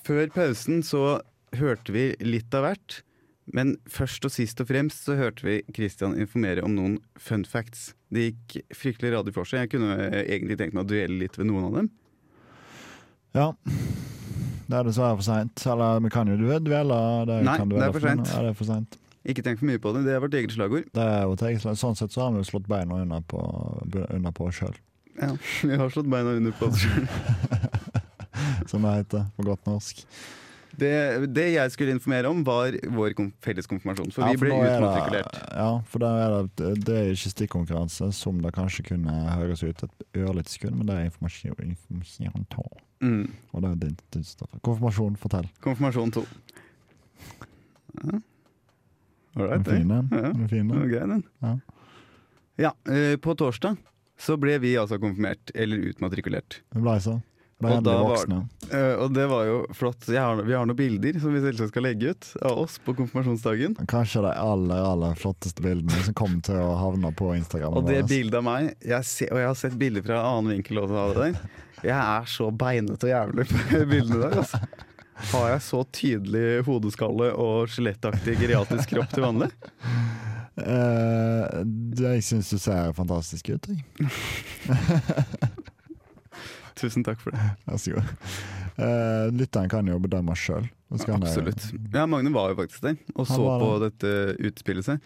[SPEAKER 5] Før pausen så hørte vi litt av hvert. Men først og sist og fremst så hørte vi Christian informere om noen fun facts. Det gikk fryktelig radig for seg. Jeg kunne eh, egentlig tenkt meg å duelle litt ved noen av dem.
[SPEAKER 1] Ja. Det er dessverre for seint. Eller vi kan jo duelle. Det
[SPEAKER 5] Nei,
[SPEAKER 1] kan
[SPEAKER 5] det er for sent.
[SPEAKER 1] Ja, det er for sent.
[SPEAKER 5] Ikke tenk for mye på det. Det er vårt eget slagord.
[SPEAKER 1] Det er jo tegnsel- Sånn sett så har vi jo slått beina under på, under på oss sjøl,
[SPEAKER 5] Ja, vi har slått beina under på oss sjøl.
[SPEAKER 1] som det heter på godt norsk.
[SPEAKER 5] Det, det jeg skulle informere om, var vår kom felles konfirmasjon. For vi ble
[SPEAKER 1] nå er det,
[SPEAKER 5] utmatrikulert.
[SPEAKER 1] ja, for da er det, det er ikke stikkonkurranse, som det kanskje kunne høres ut et ørlite sekund, men det er informasjon. informasjon ta.
[SPEAKER 5] Mm.
[SPEAKER 1] Og det er din, din stoff. Konfirmasjon, fortell.
[SPEAKER 5] Konfirmasjon to. Ja.
[SPEAKER 1] Den
[SPEAKER 5] Ålreit,
[SPEAKER 1] er fin, den.
[SPEAKER 5] Ja.
[SPEAKER 1] Den er fin,
[SPEAKER 5] Det var
[SPEAKER 1] den.
[SPEAKER 5] grei, den.
[SPEAKER 1] Ja.
[SPEAKER 5] Ja, eh, på torsdag så ble vi altså konfirmert, eller utmatrikulert.
[SPEAKER 1] Vi ble så. Ble
[SPEAKER 5] Og da
[SPEAKER 1] sånn. endelig
[SPEAKER 5] var-
[SPEAKER 1] voksne.
[SPEAKER 5] Eh, og det var jo flott. Jeg har, vi har noen bilder som vi selvsagt skal legge ut av oss på konfirmasjonsdagen.
[SPEAKER 1] Kanskje de aller, aller flotteste bildene som kom til å havne på Instagram.
[SPEAKER 5] Og det bildet av meg, jeg ser, og jeg har sett bilder fra en annen vinkel også av det der. Jeg er så beinete og jævlig på bildene der, altså. Har jeg så tydelig hodeskalle og skjelettaktig geriatrisk kropp til vanlig?
[SPEAKER 1] Eh, det, jeg syns du ser fantastisk ut. Jeg.
[SPEAKER 5] Tusen takk for det.
[SPEAKER 1] Vær så god. Eh, lytteren kan jo bedømme sjøl.
[SPEAKER 5] Absolutt. Ja, Magne var jo faktisk der og
[SPEAKER 1] Han
[SPEAKER 5] så
[SPEAKER 1] var
[SPEAKER 5] på dette utspillet seg.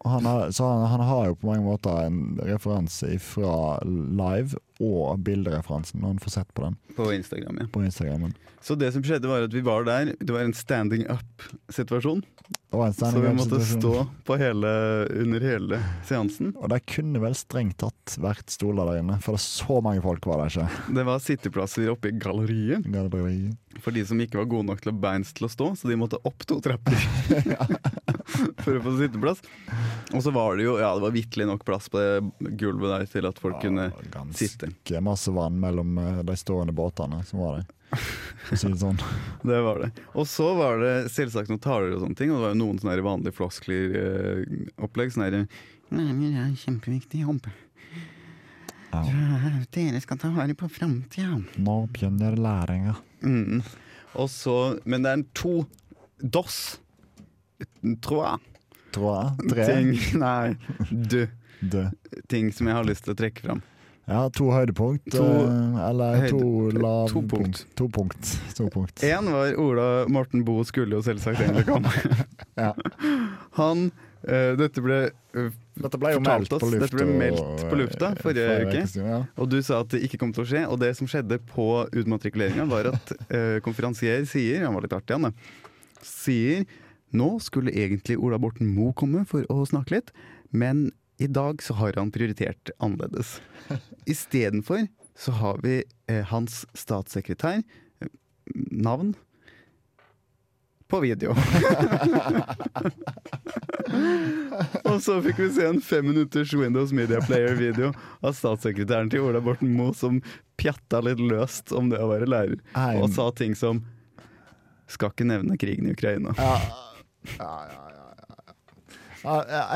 [SPEAKER 1] Han har, så han, han har jo på mange måter en referanse fra live og bildereferansen, når han får sett på den
[SPEAKER 5] På Instagram, ja.
[SPEAKER 1] på Instagrammen.
[SPEAKER 5] Så det som skjedde var at vi var der, det var en standing up-situasjon.
[SPEAKER 1] Det var en
[SPEAKER 5] Så
[SPEAKER 1] standing
[SPEAKER 5] vi måtte
[SPEAKER 1] representasjon.
[SPEAKER 5] stå på hele, under hele seansen.
[SPEAKER 1] Og det kunne vel strengt tatt vært stoler der inne, for det er så mange folk var der ikke.
[SPEAKER 5] Det var sitteplasser oppe i galleriet
[SPEAKER 1] Galleri.
[SPEAKER 5] for de som ikke var gode nok til å beins til å stå, så de måtte opp to trapper for å få sitteplass. Og så var det jo ja, det var vitterlig nok plass på det gulvet der til at folk kunne
[SPEAKER 1] Ja, ganske
[SPEAKER 5] sitte.
[SPEAKER 1] masse vann mellom eh, de stående båtene som var der. For å si det sånn.
[SPEAKER 5] Det var det. Og så var det selvsagt noen taler og sånne ting, og det var jo noen sånne her vanlige floskler-opplegg. sånn her Nei, men det er kjempeviktig jobb.
[SPEAKER 1] Ja.
[SPEAKER 5] Ja, Dere skal ta vare på framtida.
[SPEAKER 1] Nå begynner læringa.
[SPEAKER 5] Mm. Og så Men det er en to dos. Trois
[SPEAKER 1] Tror jeg. Tre.
[SPEAKER 5] ting Nei, du.
[SPEAKER 1] Dø.
[SPEAKER 5] Ting som jeg har lyst til å trekke fram.
[SPEAKER 1] Ja, to høydepunkt.
[SPEAKER 5] To
[SPEAKER 1] eh, eller to
[SPEAKER 5] høyde- to
[SPEAKER 1] lavpunkt.
[SPEAKER 5] punkt. Eh,
[SPEAKER 1] To punkt. To punkt.
[SPEAKER 5] Én var Ola Morten Boe skulle jo selvsagt egentlig komme.
[SPEAKER 1] Ja.
[SPEAKER 5] Han eh, Dette ble eh,
[SPEAKER 1] Dette ble jo
[SPEAKER 5] fortalte
[SPEAKER 1] meldt på
[SPEAKER 5] oss.
[SPEAKER 1] lufta.
[SPEAKER 5] Dette ble meldt på lufta eh, forrige uke.
[SPEAKER 1] siden, Ja.
[SPEAKER 5] Og du sa at det ikke kom til å skje, og det som skjedde på utmatrikuleringa, var at eh, konferansier sier Han var litt artig, han, da. Sier nå skulle egentlig Ola Borten Moe komme for å snakke litt, men i dag så har han prioritert annerledes. Istedenfor så har vi eh, hans statssekretær eh, Navn på video. Og så fikk vi se en fem minutters Windows Media Player-video av statssekretæren til Ola Borten Moe som pjatta litt løst om det å være lærer,
[SPEAKER 1] Nei.
[SPEAKER 5] og sa ting som Skal ikke nevne krigen i Ukraina.
[SPEAKER 1] Ja,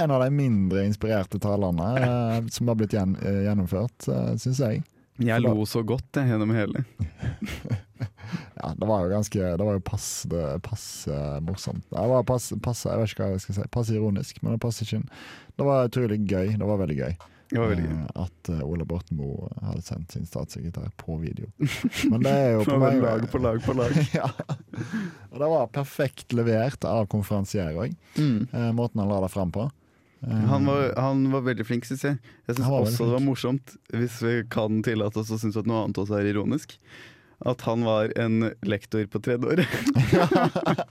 [SPEAKER 1] En av de mindre inspirerte talene eh, som har blitt gjen, eh, gjennomført, eh, syns jeg.
[SPEAKER 5] Jeg lo så godt jeg, gjennom hele.
[SPEAKER 1] Ja, det var jo ganske Det var jo passe passe morsomt. Det var passe, passe, jeg vet ikke hva jeg skal si. Passe ironisk, men det passer ikke inn. Det var utrolig gøy. Det var veldig gøy.
[SPEAKER 5] Det var veldig gøy.
[SPEAKER 1] eh, At eh, Ola Borten Moe hadde sendt sin statssekretær på video. Men det er jo
[SPEAKER 5] Fra
[SPEAKER 1] mange-
[SPEAKER 5] lag på lag på lag.
[SPEAKER 1] ja. Og det var perfekt levert av konferansier òg,
[SPEAKER 5] Mm.
[SPEAKER 1] eh, måten han la det fram på. Eh,
[SPEAKER 5] Han var, han var veldig flink, syns jeg. Jeg syns
[SPEAKER 1] Han var veldig
[SPEAKER 5] også det var morsomt, hvis vi kan tillate oss å synes at noe annet også er ironisk, at han var en lektor på tredje året.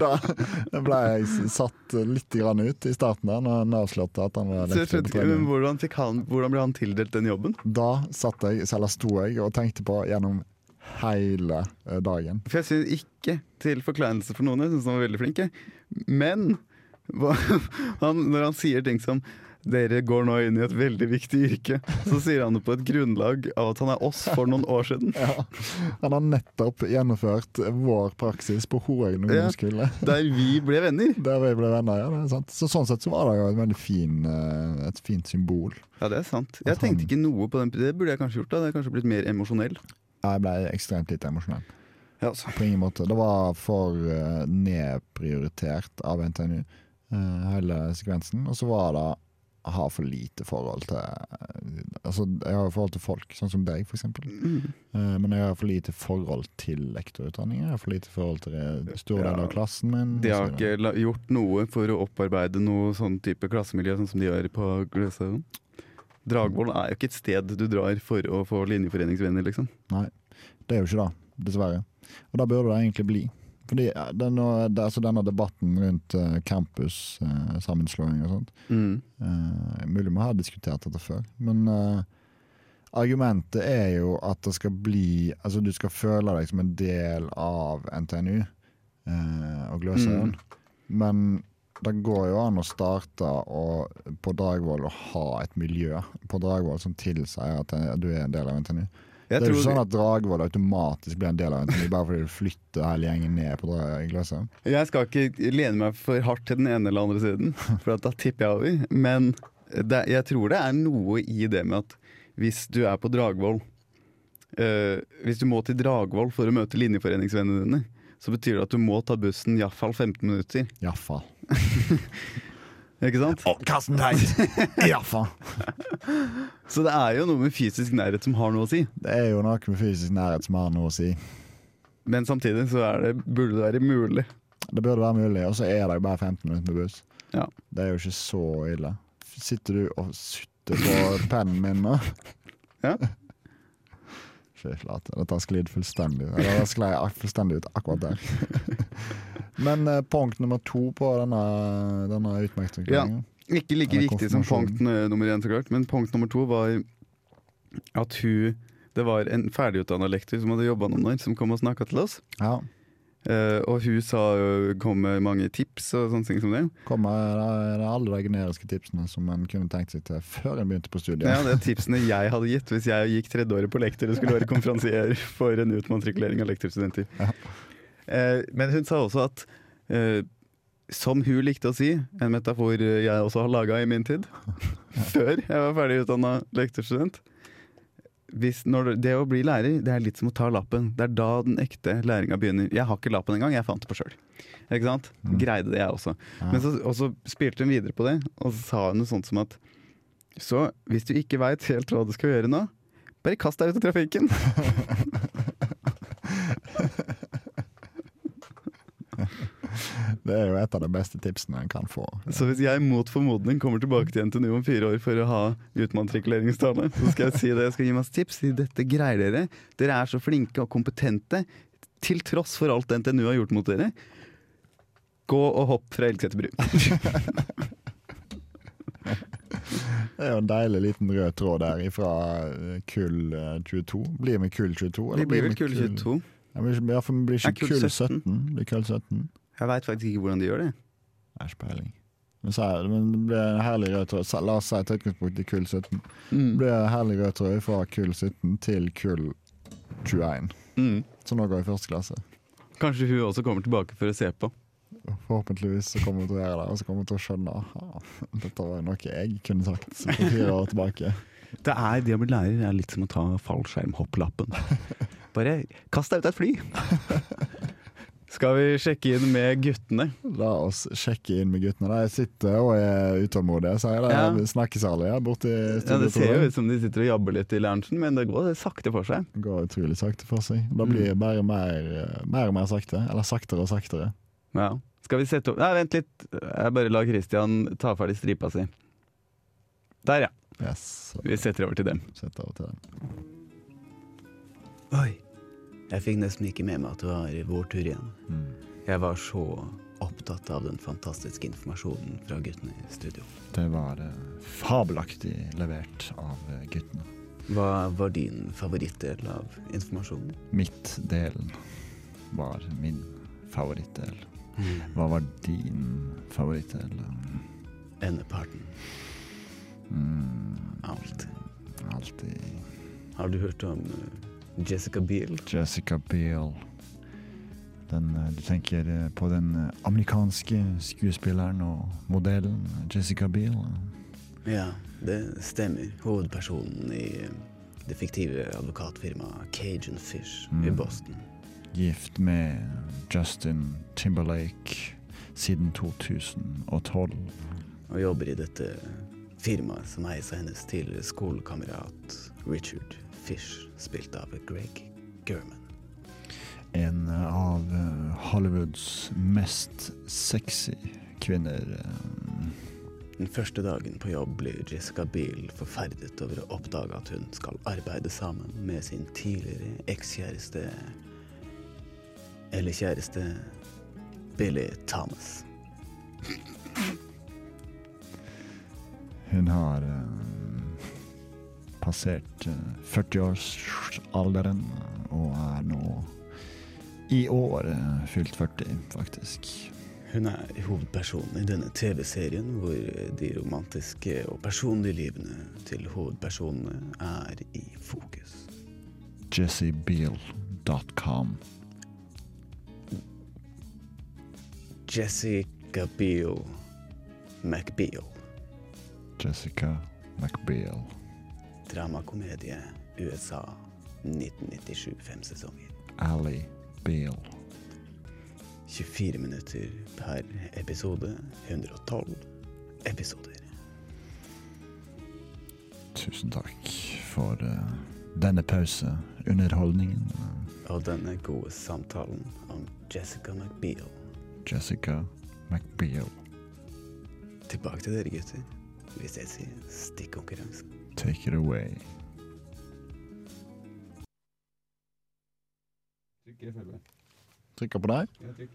[SPEAKER 1] Da ble jeg s- satt litt grann ut i starten der, når han avslørte at han var
[SPEAKER 5] Så jeg
[SPEAKER 1] lektor på
[SPEAKER 5] skjønte ikke, men
[SPEAKER 1] trening.
[SPEAKER 5] hvordan, fikk han, hvordan ble han tildelt den jobben?
[SPEAKER 1] Da satt jeg, eller sto jeg og tenkte på gjennom hele eh, dagen.
[SPEAKER 5] For jeg synes ikke til forkleinelse for noen, jeg syns han var veldig flink. jeg. Men hva, han, når han sier ting som dere går nå inn i et veldig viktig yrke. Så sier han det på et grunnlag av at han er oss for noen år siden.
[SPEAKER 1] Ja. Han har nettopp gjennomførrt vår praksis på Horegn
[SPEAKER 5] Ja.
[SPEAKER 1] ungdomsskole.
[SPEAKER 5] Der vi ble venner.
[SPEAKER 1] Der vi ble venner, ja. Det er sant. Så sånn sett så var det jo et veldig fin, eh, et fint symbol.
[SPEAKER 5] Ja, det er sant. Jeg tenkte ikke noe på den. Det burde jeg kanskje gjort. da. Det er kanskje blitt mer emosjonell.
[SPEAKER 1] Jeg ble ekstremt lite emosjonell.
[SPEAKER 5] Ja, altså.
[SPEAKER 1] På ingen måte. Det var for eh, nedprioritert av NTNU, eh, hele sekvensen. Og så var det jeg har for lite forhold til Altså, jeg har forhold til folk, sånn som deg, for eksempel.
[SPEAKER 5] Mm.
[SPEAKER 1] Eh, men jeg har for lite forhold til lektorutdanningen. Jeg har for lite forhold til eh, store deler
[SPEAKER 5] Ja.
[SPEAKER 1] av klassen min.
[SPEAKER 5] De har
[SPEAKER 1] og så videre.
[SPEAKER 5] ikke la- gjort noe for å opparbeide noe sånn type klassemiljø sånn som de gjør på Gløshaugen. Dragvoll er jo ikke et sted du drar for å få linjeforeningsvenner, liksom.
[SPEAKER 1] Det er jo ikke det, dessverre. Og da burde det egentlig bli. Fordi eh, denne, det- altså denne debatten rundt eh, campus-sammenslåing og sånt
[SPEAKER 5] Mm.
[SPEAKER 1] eh, Mulig vi har diskutert dette før, men eh, argumentet er jo at det skal bli Altså du skal føle deg som en del av NTNU eh, og
[SPEAKER 5] Mm.
[SPEAKER 1] Gløshaugen, men det går jo an å starte å- på Dragvoll og ha et miljø på Dragvoll som tilsier at eh, du er en del av NTNU
[SPEAKER 5] Jeg
[SPEAKER 1] det er jo ikke
[SPEAKER 5] tror-
[SPEAKER 1] sånn at Dragvoll automatisk blir en del av en ting, bare fordi du flytter hele gjengen ned på Dra- Gløshaugen.
[SPEAKER 5] Jeg skal ikke lene meg for hardt til den ene eller andre siden, for at da tipper jeg over. Men det, jeg tror det er noe i det med at hvis du er på Dragvoll eh, Hvis du må til Dragvoll for å møte linjeforeningsvennene dine, så betyr det at du må ta bussen iallfall 15 minutter.
[SPEAKER 1] Iallfall.
[SPEAKER 5] Ikke sant?
[SPEAKER 1] Oh, Karsten Tveit! Iallfall!
[SPEAKER 5] Så det er jo noe med fysisk nærhet som har noe å si.
[SPEAKER 1] Det er jo noe med fysisk nærhet som har noe å si.
[SPEAKER 5] Men samtidig så er det, burde det være mulig.
[SPEAKER 1] Det burde være mulig, og så er det jo bare 15 minutter med buss.
[SPEAKER 5] Ja.
[SPEAKER 1] Det er jo ikke så ille. Sitter du og sutter på pennen min nå?
[SPEAKER 5] Ja.
[SPEAKER 1] Fy flate, dette har sklidd fullstendig Eller det sklei ak- fullstendig ut akkurat der. Men eh, punkt nummer to på denne, denne utmerkelsen
[SPEAKER 5] Ikke like
[SPEAKER 1] Eller
[SPEAKER 5] viktig som punkt
[SPEAKER 1] konfirmasjonen.
[SPEAKER 5] n- nummer én, så klart, men punkt nummer to var at hun Det var en ferdigutdanna lektor som hadde jobba noen år, som kom og snakka til oss.
[SPEAKER 1] ja.
[SPEAKER 5] Eh, og hun sa, jo- kom med mange tips og sånne ting som det.
[SPEAKER 1] kommer det er alle de generiske tipsene som en kunne tenkt seg til før en begynte på studiet.
[SPEAKER 5] Ja, det er tipsene jeg hadde gitt hvis jeg gikk tredjeåret på lektor og skulle være konferansier for en utmatrikulering av lektorstudenter.
[SPEAKER 1] Ja.
[SPEAKER 5] Eh, men hun sa også at eh, som hun likte å si, en metafor jeg også har laga i min tid, før jeg var ferdig utdanna lektorstudent hvis, når, du- Det å bli lærer det er litt som å ta lappen. Det er da den ekte læringa begynner. Jeg har ikke lappen engang, jeg fant det på sjøl. Ikke sant?
[SPEAKER 1] Mm.
[SPEAKER 5] Greide det, jeg også.
[SPEAKER 1] Ja.
[SPEAKER 5] Men så, og så spilte hun videre på det, og så sa hun noe sånt som at Så hvis du ikke veit helt hva du skal gjøre nå, bare kast deg ut i trafikken!
[SPEAKER 1] Det er jo et av de beste tipsene en kan få.
[SPEAKER 5] Så hvis jeg mot formodning kommer tilbake til NTNU om fire år for å ha utmatrikuleringstale, så skal jeg si det. Jeg skal gi masse tips. Si dette greier dere. Dere er så flinke og kompetente. Til tross for alt NTNU har gjort mot dere. Gå og hopp fra Elgseter bru.
[SPEAKER 1] Det er jo en deilig liten rød tråd der ifra eh, kull eh, 22. Blir vi kull 22? eller
[SPEAKER 5] Vi blir vel
[SPEAKER 1] vi
[SPEAKER 5] kule 22.
[SPEAKER 1] Ja, vi blir ikke- ja, for vi blir
[SPEAKER 5] Nei,
[SPEAKER 1] ikke
[SPEAKER 5] kull
[SPEAKER 1] kull
[SPEAKER 5] 17.
[SPEAKER 1] 17. Blir kull 17.
[SPEAKER 5] Jeg veit faktisk ikke hvordan de gjør det.
[SPEAKER 1] Det er ikke peiling. Men, så er det, men det blir en herlig rød tråd. Så La oss si til utgangspunkt i kull 17. Det
[SPEAKER 5] Mm.
[SPEAKER 1] blir en herlig rød tråd fra kull 17 til kull 21.
[SPEAKER 5] Mm.
[SPEAKER 1] Så nå går jeg i første klasse.
[SPEAKER 5] Kanskje hun også kommer tilbake for å se på.
[SPEAKER 1] Forhåpentligvis så kommer hun til å gjøre det, og så kommer hun til å skjønne aha, dette var jo noe jeg kunne sagt for fire år tilbake.
[SPEAKER 5] Det er det å bli lærer er litt som å ta fallskjermhopplappen. Bare kast deg ut av et fly! Skal vi sjekke inn med guttene?
[SPEAKER 1] La oss sjekke inn med guttene. De sitter og er utålmodige, sier de.
[SPEAKER 5] Ja.
[SPEAKER 1] Snakkesærlig her borte i
[SPEAKER 5] Ja, det ser jo
[SPEAKER 1] studioet.
[SPEAKER 5] ut som de sitter og jabber litt i loungen, men det går sakte for seg.
[SPEAKER 1] Det går utrolig sakte for seg. Det blir
[SPEAKER 5] Mm.
[SPEAKER 1] det bare mer, mer og mer sakte. Eller saktere og saktere.
[SPEAKER 5] Ja. Skal vi sette opp Nei, vent litt. Jeg bare lar Christian ta ferdig stripa si. Der, ja.
[SPEAKER 1] Yes.
[SPEAKER 5] Vi setter over til dem.
[SPEAKER 1] Sett av til den.
[SPEAKER 2] Oi. Jeg fikk nesten ikke med meg at det var vår tur igjen.
[SPEAKER 6] Mm.
[SPEAKER 2] Jeg var så opptatt av den fantastiske informasjonen fra guttene i studio.
[SPEAKER 6] Det var eh, fabelaktig levert av eh, guttene.
[SPEAKER 2] Hva var din favorittdel av informasjonen?
[SPEAKER 6] Mitt-delen var min favorittdel. Hva var din favorittdel?
[SPEAKER 2] Endeparten.
[SPEAKER 6] Mm,
[SPEAKER 2] Alt.
[SPEAKER 6] alltid
[SPEAKER 2] Har du hørt om eh, Jessica Biel?
[SPEAKER 6] Jessica Biel. Den, eh, du tenker eh, på den eh, amerikanske skuespilleren og modellen Jessica Biel.
[SPEAKER 2] Ja, det stemmer. Hovedpersonen i eh, det fiktive advokatfirmaet Cajun Fish i
[SPEAKER 6] Mm.
[SPEAKER 2] Boston.
[SPEAKER 1] gift med Justin Timberlake siden 2012.
[SPEAKER 2] Og jobber i dette firmaet som eies av hennes tidligere skolekamerat Richard Fish, spilt av Greg German.
[SPEAKER 1] En av eh, Hollywoods mest sexy kvinner. eh,
[SPEAKER 2] Den første dagen på jobb blir Jessica Biel forferdet over å oppdage at hun skal arbeide sammen med sin tidligere ekskjæreste Eller kjæreste Billy Thomas.
[SPEAKER 1] Hun har eh, passert eh, 40-årsalderen og er nå i år eh, fylt 40, faktisk.
[SPEAKER 2] Hun er hovedpersonen i denne TV-serien hvor de romantiske og personlige livene til hovedpersonene er i fokus.
[SPEAKER 1] jessiebeal.com.
[SPEAKER 2] Jessica Biel McBeal.
[SPEAKER 1] Jessica McBeal.
[SPEAKER 2] Dramakomedie USA 1997, fem sesonger.
[SPEAKER 1] Ally Beal.
[SPEAKER 2] 24 minutter per episode. 112 episoder.
[SPEAKER 1] Tusen takk for eh, denne pause. Underholdningen. eh,
[SPEAKER 2] Og denne gode samtalen om Jessica McBeal.
[SPEAKER 1] Jessica McBeal.
[SPEAKER 2] Tilbake til dere, gutter. Vi ses i stikkonkurransen.
[SPEAKER 1] Take it away. Trykker på deg?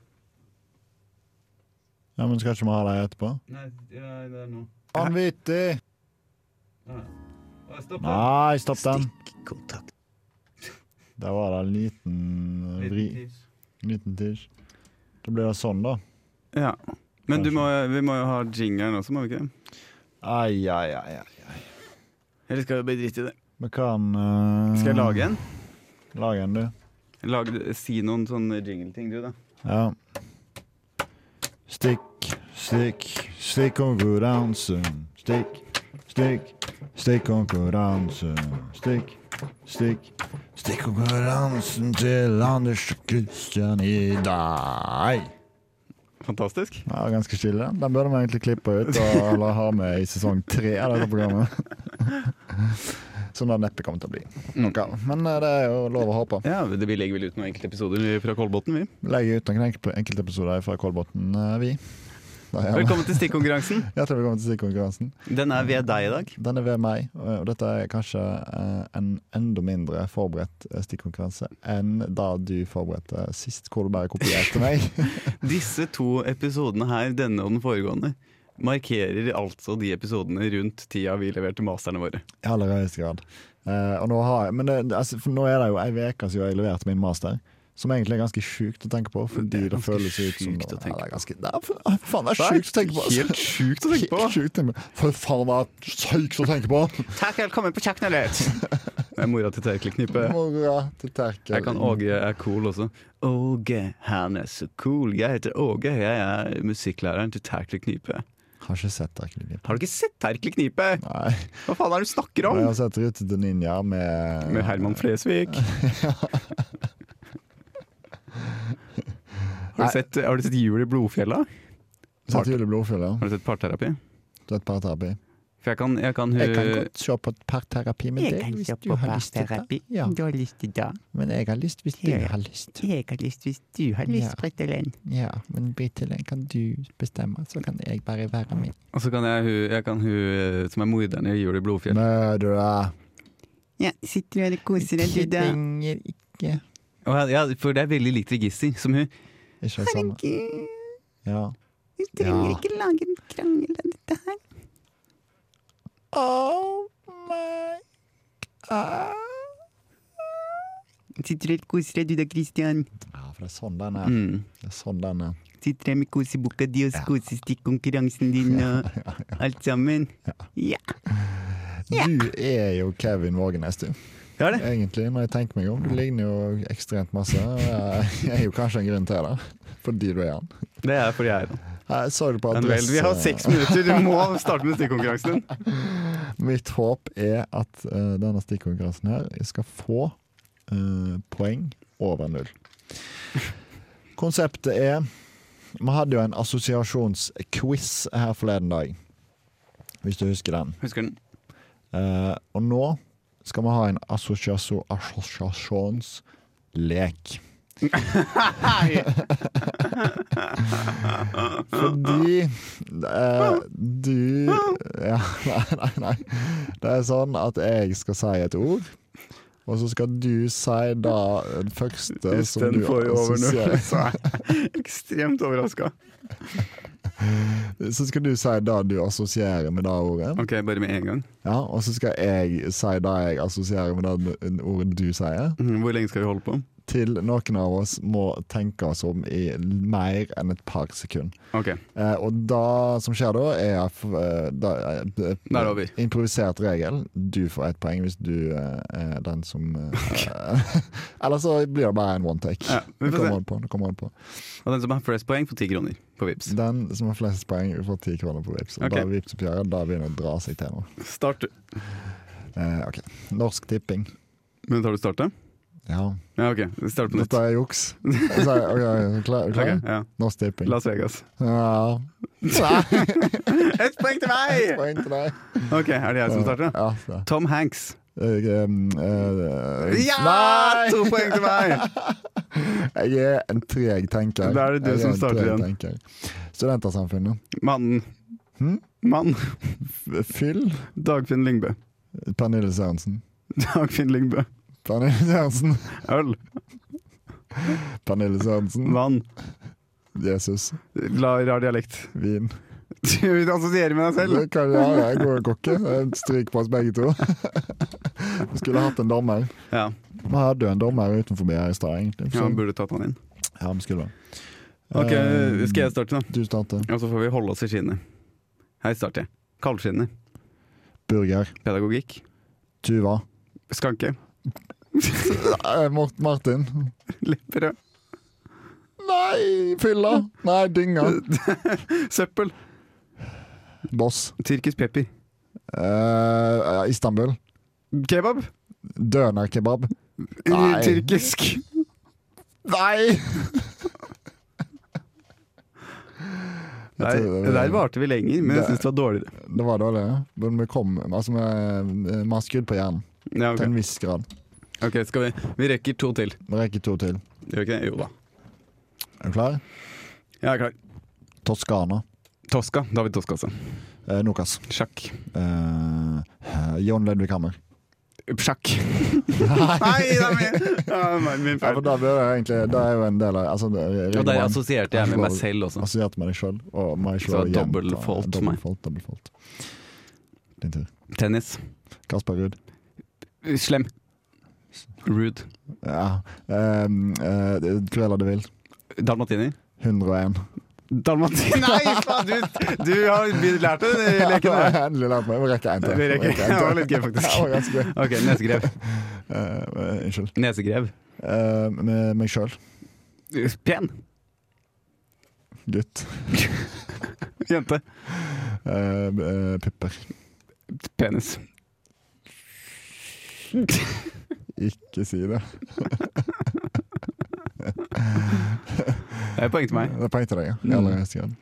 [SPEAKER 1] Ja, men skal ikke vi ha deg etterpå?
[SPEAKER 5] Nei, det er nå.
[SPEAKER 1] Vanvittig!
[SPEAKER 5] Stopp
[SPEAKER 1] Nei, stopp den.
[SPEAKER 2] Stikkontakt.
[SPEAKER 1] Der var det en liten eh, vri. Liten tiss. Da blir det sånn, da.
[SPEAKER 5] Ja. Men du må, vi må jo ha jingeren også, må vi ikke? det?
[SPEAKER 1] Ai, ai, ai. ai.
[SPEAKER 5] Eller skal vi bare drite i det?
[SPEAKER 1] Vi kan eh,
[SPEAKER 5] Skal jeg lage en?
[SPEAKER 1] Lag en, du.
[SPEAKER 5] Lag, si noen sånne jingleting, du, da.
[SPEAKER 1] Ja. Stikk, stikk, stikkonkurranse. Stikk, stikk, stikkonkurranse. Stikk, stikk, stikkonkurransen til Anders og Christian i dag.
[SPEAKER 5] Fantastisk.
[SPEAKER 1] Ja, ganske stille. Den burde vi egentlig klippe ut og eller ha med i sesong tre av dette programmet. Som det neppe kommer til å bli. Noe. Men eh, det er jo lov å håpe.
[SPEAKER 5] Ja, det- Vi legger vel ut noen enkeltepisoder fra Kolbotn, vi.
[SPEAKER 1] Vi Legger ut noen enkel- enkeltepisoder fra Kolbotn, eh, vi. Da gjør vi.
[SPEAKER 5] Velkommen til stikkonkurransen.
[SPEAKER 1] Hjertelig velkommen til Stikkonkurransen.
[SPEAKER 5] Den er ved deg i dag.
[SPEAKER 1] Den er ved meg, og dette er kanskje eh, en enda mindre forberedt eh, stikkonkurranse enn da du forberedte sist, hvor du bare kopierte meg.
[SPEAKER 5] Disse to episodene her, denne og den foregående, markerer altså de episodene rundt tida vi leverte masterne våre.
[SPEAKER 1] I aller høyeste grad. Eh, og nå, har jeg, men det, det- altså, for nå er det jo ei uke siden jeg leverte min master. Som egentlig er ganske sjukt å tenke på. Fordi
[SPEAKER 5] Det
[SPEAKER 1] det,
[SPEAKER 5] er ganske
[SPEAKER 1] føles ut som
[SPEAKER 5] sjukt å tenke
[SPEAKER 1] ja, det er ganske, det er, for- ah, Faen, det er sjukt å tenke på! altså.
[SPEAKER 5] Helt sjukt å tenke på!
[SPEAKER 1] Helt sjukt å tenke på. For faen, det er sjukt å tenke på!
[SPEAKER 5] Takk, velkommen på kjøkkenet ditt! Det er mora til Terkel Knippe.
[SPEAKER 1] Mora til Terkel.
[SPEAKER 5] Jeg kan Åge er cool også. Åge, han er så cool. Jeg heter Åge, jeg er musikklæreren til Terkel Knipe.
[SPEAKER 1] Har ikke sett Terkel. i livet.
[SPEAKER 5] Har du ikke sett Terkel Knipe?
[SPEAKER 1] Nei.
[SPEAKER 5] Hva faen er det du snakker
[SPEAKER 1] Men
[SPEAKER 5] om?
[SPEAKER 1] Jeg har sett Rute til Ninja med,
[SPEAKER 5] Med Herman Flesvig. Har du, sett, har du sett Jul i Blodfjella?
[SPEAKER 1] Sett Jul i Blodfjell, ja.
[SPEAKER 5] Har du sett Parterapi?
[SPEAKER 1] Det er et parterapi.
[SPEAKER 5] For jeg kan, jeg kan,
[SPEAKER 1] Jeg kan
[SPEAKER 8] Eh,
[SPEAKER 5] hu-
[SPEAKER 1] godt se på et parterapi med deg hvis du har lyst til det. Ja.
[SPEAKER 8] Du har lyst til det.
[SPEAKER 1] Men jeg har lyst hvis du
[SPEAKER 8] Ja, ja.
[SPEAKER 1] har lyst.
[SPEAKER 8] Jeg har lyst hvis du har lyst,
[SPEAKER 1] Ja.
[SPEAKER 8] Brittelen.
[SPEAKER 1] Ja, men Brittelen, kan du bestemme, så kan jeg bare være med.
[SPEAKER 5] Og så kan jeg hun jeg kan, hu- som er morderen i Jul i Blodfjell.
[SPEAKER 1] Mødre!
[SPEAKER 8] Ja, sitter du her og koser deg, du, da?
[SPEAKER 1] trenger ikke
[SPEAKER 5] Og jeg, jeg, for det er veldig likt register, som hun.
[SPEAKER 1] Ikke det samme.
[SPEAKER 8] Herregud,
[SPEAKER 1] Ja.
[SPEAKER 8] du trenger
[SPEAKER 1] Ja.
[SPEAKER 8] ikke lage en krangel av dette her.
[SPEAKER 1] Oh my god.
[SPEAKER 8] Sitter du her og koser deg, du da, Christian?
[SPEAKER 1] Ja, for det er sånn den er.
[SPEAKER 5] Mm.
[SPEAKER 1] Det er sånn den er.
[SPEAKER 8] Sitter her med koseboka di og
[SPEAKER 1] Ja.
[SPEAKER 8] kosestikkonkurransen din og alt sammen? Ja. Ja.
[SPEAKER 1] Du er jo Kevin Vågenes, du.
[SPEAKER 5] Jeg har det.
[SPEAKER 1] Egentlig, når jeg tenker meg om. Du ligner jo ekstremt masse. og Jeg er jo kanskje en grunn til det, fordi du er han.
[SPEAKER 5] Det er fordi jeg er han.
[SPEAKER 1] Jeg så det på
[SPEAKER 5] Men vel,
[SPEAKER 1] adresse.
[SPEAKER 5] vi har seks minutter. Du må starte med stikkonkurransen.
[SPEAKER 1] Mitt håp er at eh, denne stikkonkurransen her skal få eh, poeng over null. Konseptet er Vi hadde jo en assosiasjonsquiz her forleden dag, hvis du husker den.
[SPEAKER 5] Husker den?
[SPEAKER 1] Eh, og nå skal vi ha en assosiasjo- assosiasjonslek. Fordi eh, du ja, Nei, nei, nei. Det er sånn at jeg skal si et ord, og så skal du si da den første
[SPEAKER 5] Hvis
[SPEAKER 1] som
[SPEAKER 5] den
[SPEAKER 1] du
[SPEAKER 5] får over null,
[SPEAKER 1] assosierer
[SPEAKER 5] så er jeg ekstremt overraska.
[SPEAKER 1] Så skal du si det du assosierer med det ordet.
[SPEAKER 5] OK, bare med en gang.
[SPEAKER 1] Ja, og så skal jeg si det jeg assosierer med det ordet du sier.
[SPEAKER 5] Mhm, Hvor lenge skal vi holde på?
[SPEAKER 1] Til noen av oss må tenke oss om i mer enn et par sekunder.
[SPEAKER 5] OK.
[SPEAKER 1] Eh, og det som skjer da, er at eh, da, eh, b-
[SPEAKER 5] Da er det over.
[SPEAKER 1] improvisert regel. Du får ett poeng hvis du eh, er den som eh, Eller så blir det bare en one take.
[SPEAKER 5] Ja, vi
[SPEAKER 1] det
[SPEAKER 5] får
[SPEAKER 1] kommer
[SPEAKER 5] se.
[SPEAKER 1] an på, det kommer an på.
[SPEAKER 5] Og den som har flest poeng, får ti kroner på Vipps.
[SPEAKER 1] Den som har flest poeng, får ti kroner på Vipps. Og
[SPEAKER 5] Ok.
[SPEAKER 1] da er Vipps-oppgjøret da begynner det å dra seg til nå.
[SPEAKER 5] Start. du.
[SPEAKER 1] Eh, ok. Norsk Tipping.
[SPEAKER 5] Men tar du starte?
[SPEAKER 1] Ja.
[SPEAKER 5] Ja, OK. vi starter på nytt.
[SPEAKER 1] Dette er juks. Så, ok, er du klar? er du klar?
[SPEAKER 5] Ok, ja.
[SPEAKER 1] Norsk Tipping.
[SPEAKER 5] Las Vegas.
[SPEAKER 1] Ja. Nei,
[SPEAKER 5] Ett poeng til meg!
[SPEAKER 1] poeng til deg.
[SPEAKER 5] OK, er det jeg som starter? da?
[SPEAKER 1] Ja, så.
[SPEAKER 5] Tom Hanks.
[SPEAKER 1] Jeg, ehm, eh,
[SPEAKER 5] Ja!
[SPEAKER 1] Nei!
[SPEAKER 5] To poeng til meg!
[SPEAKER 1] Jeg er en treg tenker.
[SPEAKER 5] Da er det du
[SPEAKER 1] Jeg
[SPEAKER 5] som
[SPEAKER 1] en
[SPEAKER 5] starter
[SPEAKER 1] treg
[SPEAKER 5] igjen.
[SPEAKER 1] tenker. Studentersamfunnet.
[SPEAKER 5] Mannen.
[SPEAKER 1] Hm?
[SPEAKER 5] Mann.
[SPEAKER 1] F- Fyll.
[SPEAKER 5] Dagfinn Lyngbø.
[SPEAKER 1] Pernille Sørensen.
[SPEAKER 5] Dagfinn Lyngbø.
[SPEAKER 1] Pernille Sørensen.
[SPEAKER 5] Øl.
[SPEAKER 1] Pernille Sørensen.
[SPEAKER 5] Vann.
[SPEAKER 1] Jesus.
[SPEAKER 5] La rar dialekt.
[SPEAKER 1] Vin.
[SPEAKER 5] Du assosierer med deg selv.
[SPEAKER 1] Det kan jeg ha, jeg er god kokke. Jeg Stryk på oss begge to. Vi skulle hatt en dommer.
[SPEAKER 5] Ja,
[SPEAKER 1] Vi hadde jo en dommer utenfor her i stad, egentlig.
[SPEAKER 5] ja
[SPEAKER 1] Så,
[SPEAKER 5] man burde tatt han inn.
[SPEAKER 1] ja, vi skulle.
[SPEAKER 5] Ok,
[SPEAKER 1] Eh,
[SPEAKER 5] Skal jeg starte, da?
[SPEAKER 1] Du starter.
[SPEAKER 5] Og så får vi holde oss i skinnet. Her starter jeg. Kalvskinnet.
[SPEAKER 1] Burger.
[SPEAKER 5] Pedagogikk.
[SPEAKER 1] Tuva.
[SPEAKER 5] Skanke.
[SPEAKER 1] Eh, Mort Martin.
[SPEAKER 5] Lepperød.
[SPEAKER 1] Nei, fylla! Nei, dynga.
[SPEAKER 5] Søppel.
[SPEAKER 1] Boss.
[SPEAKER 5] Tyrkisk pepper.
[SPEAKER 1] Eh, Istanbul.
[SPEAKER 5] Kebab.
[SPEAKER 1] Dønerkebab. Nei.
[SPEAKER 5] Tyrkisk.
[SPEAKER 1] Nei!
[SPEAKER 5] Der,
[SPEAKER 1] tror det-
[SPEAKER 5] der varte vi lenger, men jeg syns det var dårligere.
[SPEAKER 1] Det var dårlig, ja. men vi kom Altså, vi, vi har skudd på hjernen
[SPEAKER 5] Ja,
[SPEAKER 1] til en
[SPEAKER 5] ok,
[SPEAKER 1] viss grad.
[SPEAKER 5] ok, skal vi Vi rekker to til.
[SPEAKER 1] Vi rekker to til.
[SPEAKER 5] Gjør vi ikke det? Jo da.
[SPEAKER 1] Er du klar?
[SPEAKER 5] Jeg er klar.
[SPEAKER 1] Toskana.
[SPEAKER 5] Toska. David Toska, altså.
[SPEAKER 1] Eh, Nokas.
[SPEAKER 5] Sjakk.
[SPEAKER 1] Eh, John Ludvig Hammer.
[SPEAKER 5] Sjakk. Nei, det er min, ja, min-
[SPEAKER 1] Ja,
[SPEAKER 5] min feil.
[SPEAKER 1] for da blir det egentlig Det er jo en del av altså, det er
[SPEAKER 5] Og der
[SPEAKER 1] reglement.
[SPEAKER 5] assosierte jeg med meg selv også.
[SPEAKER 1] Assosiert med deg sjøl. Og meg
[SPEAKER 5] Så
[SPEAKER 1] sjøl
[SPEAKER 5] det var dobbelt fault for meg.
[SPEAKER 1] Dobbeltfolt, dobbeltfolt. Din tur.
[SPEAKER 5] Tennis.
[SPEAKER 1] Kasper Ruud.
[SPEAKER 5] Slem. Rude.
[SPEAKER 1] Ja. Um, uh, Cruella de Vil.
[SPEAKER 5] Dalmatiner.
[SPEAKER 1] 101.
[SPEAKER 5] Dalmatiner Nei, faen! Du, du har lært deg den
[SPEAKER 1] Ja,
[SPEAKER 5] leken der.
[SPEAKER 1] endelig lært meg. Vi rekker en til.
[SPEAKER 5] Vi rekker-
[SPEAKER 1] en til.
[SPEAKER 5] det var litt gøy, faktisk.
[SPEAKER 1] Ja, det var ganske gøy.
[SPEAKER 5] Ok, nesegrev.
[SPEAKER 1] Eh, unnskyld.
[SPEAKER 5] Nesegrev.
[SPEAKER 1] Eh, med meg sjøl.
[SPEAKER 5] Pen.
[SPEAKER 1] Gutt.
[SPEAKER 5] Jente.
[SPEAKER 1] Eh, eh, pupper.
[SPEAKER 5] Penis.
[SPEAKER 1] Ikke si det.
[SPEAKER 5] Det er poeng til meg.
[SPEAKER 1] Det er poeng til deg, ja.
[SPEAKER 5] Mm.
[SPEAKER 1] I aller høyeste grad.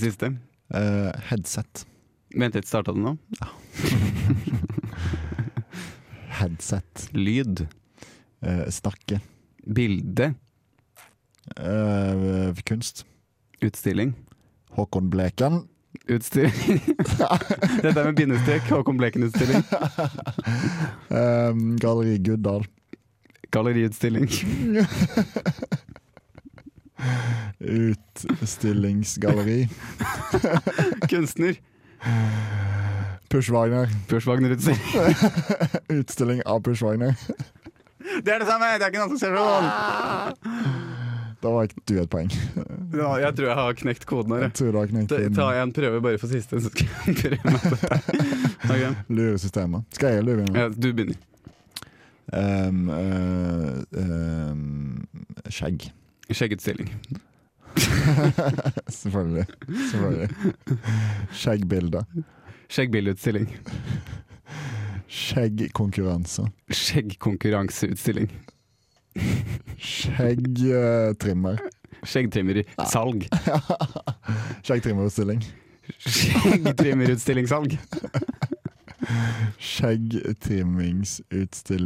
[SPEAKER 5] Siste.
[SPEAKER 1] Eh, headset.
[SPEAKER 5] Vent litt, starta det nå?
[SPEAKER 1] Headset.
[SPEAKER 5] Lyd.
[SPEAKER 1] Eh, snakke.
[SPEAKER 5] Bilde.
[SPEAKER 1] Eh, kunst.
[SPEAKER 5] Utstilling.
[SPEAKER 1] Håkon Bleken.
[SPEAKER 5] Utstilling. Dette er med bindestrek. Håkon Bleken-utstilling.
[SPEAKER 1] Eh, Galleri Guddal.
[SPEAKER 5] Galleriutstilling.
[SPEAKER 1] Utstillingsgalleri.
[SPEAKER 5] Kunstner.
[SPEAKER 1] Pushwagner.
[SPEAKER 5] Pushwagner-utstilling.
[SPEAKER 1] Utstilling av Pushwagner.
[SPEAKER 5] Det er det samme! Det er ikke en assosiasjon!
[SPEAKER 1] Da var ikke du et poeng.
[SPEAKER 5] Ja, jeg tror jeg har knekt koden her.
[SPEAKER 1] Jeg
[SPEAKER 5] jeg.
[SPEAKER 1] tror du har knekt
[SPEAKER 5] Ta
[SPEAKER 1] inn
[SPEAKER 5] ta en prøve bare for siste, så skal jeg prøve meg på dette. Ok.
[SPEAKER 1] luresystemet. Skal jeg lure nå?
[SPEAKER 5] Ja, du begynner.
[SPEAKER 1] Um, eh, um, skjegg.
[SPEAKER 5] Skjeggutstilling.
[SPEAKER 1] Selvfølgelig. Selvfølgelig. Skjeggbilde.
[SPEAKER 5] Skjeggbillutstilling.
[SPEAKER 1] Skjeggkonkurranse.
[SPEAKER 5] Skjeggkonkurranseutstilling.
[SPEAKER 1] Skjeggtrimmer.
[SPEAKER 5] Skjeggtrimmer i salg.
[SPEAKER 1] Skjeggtrimmerutstilling.
[SPEAKER 5] Skjeggtrimmerutstillingssalg.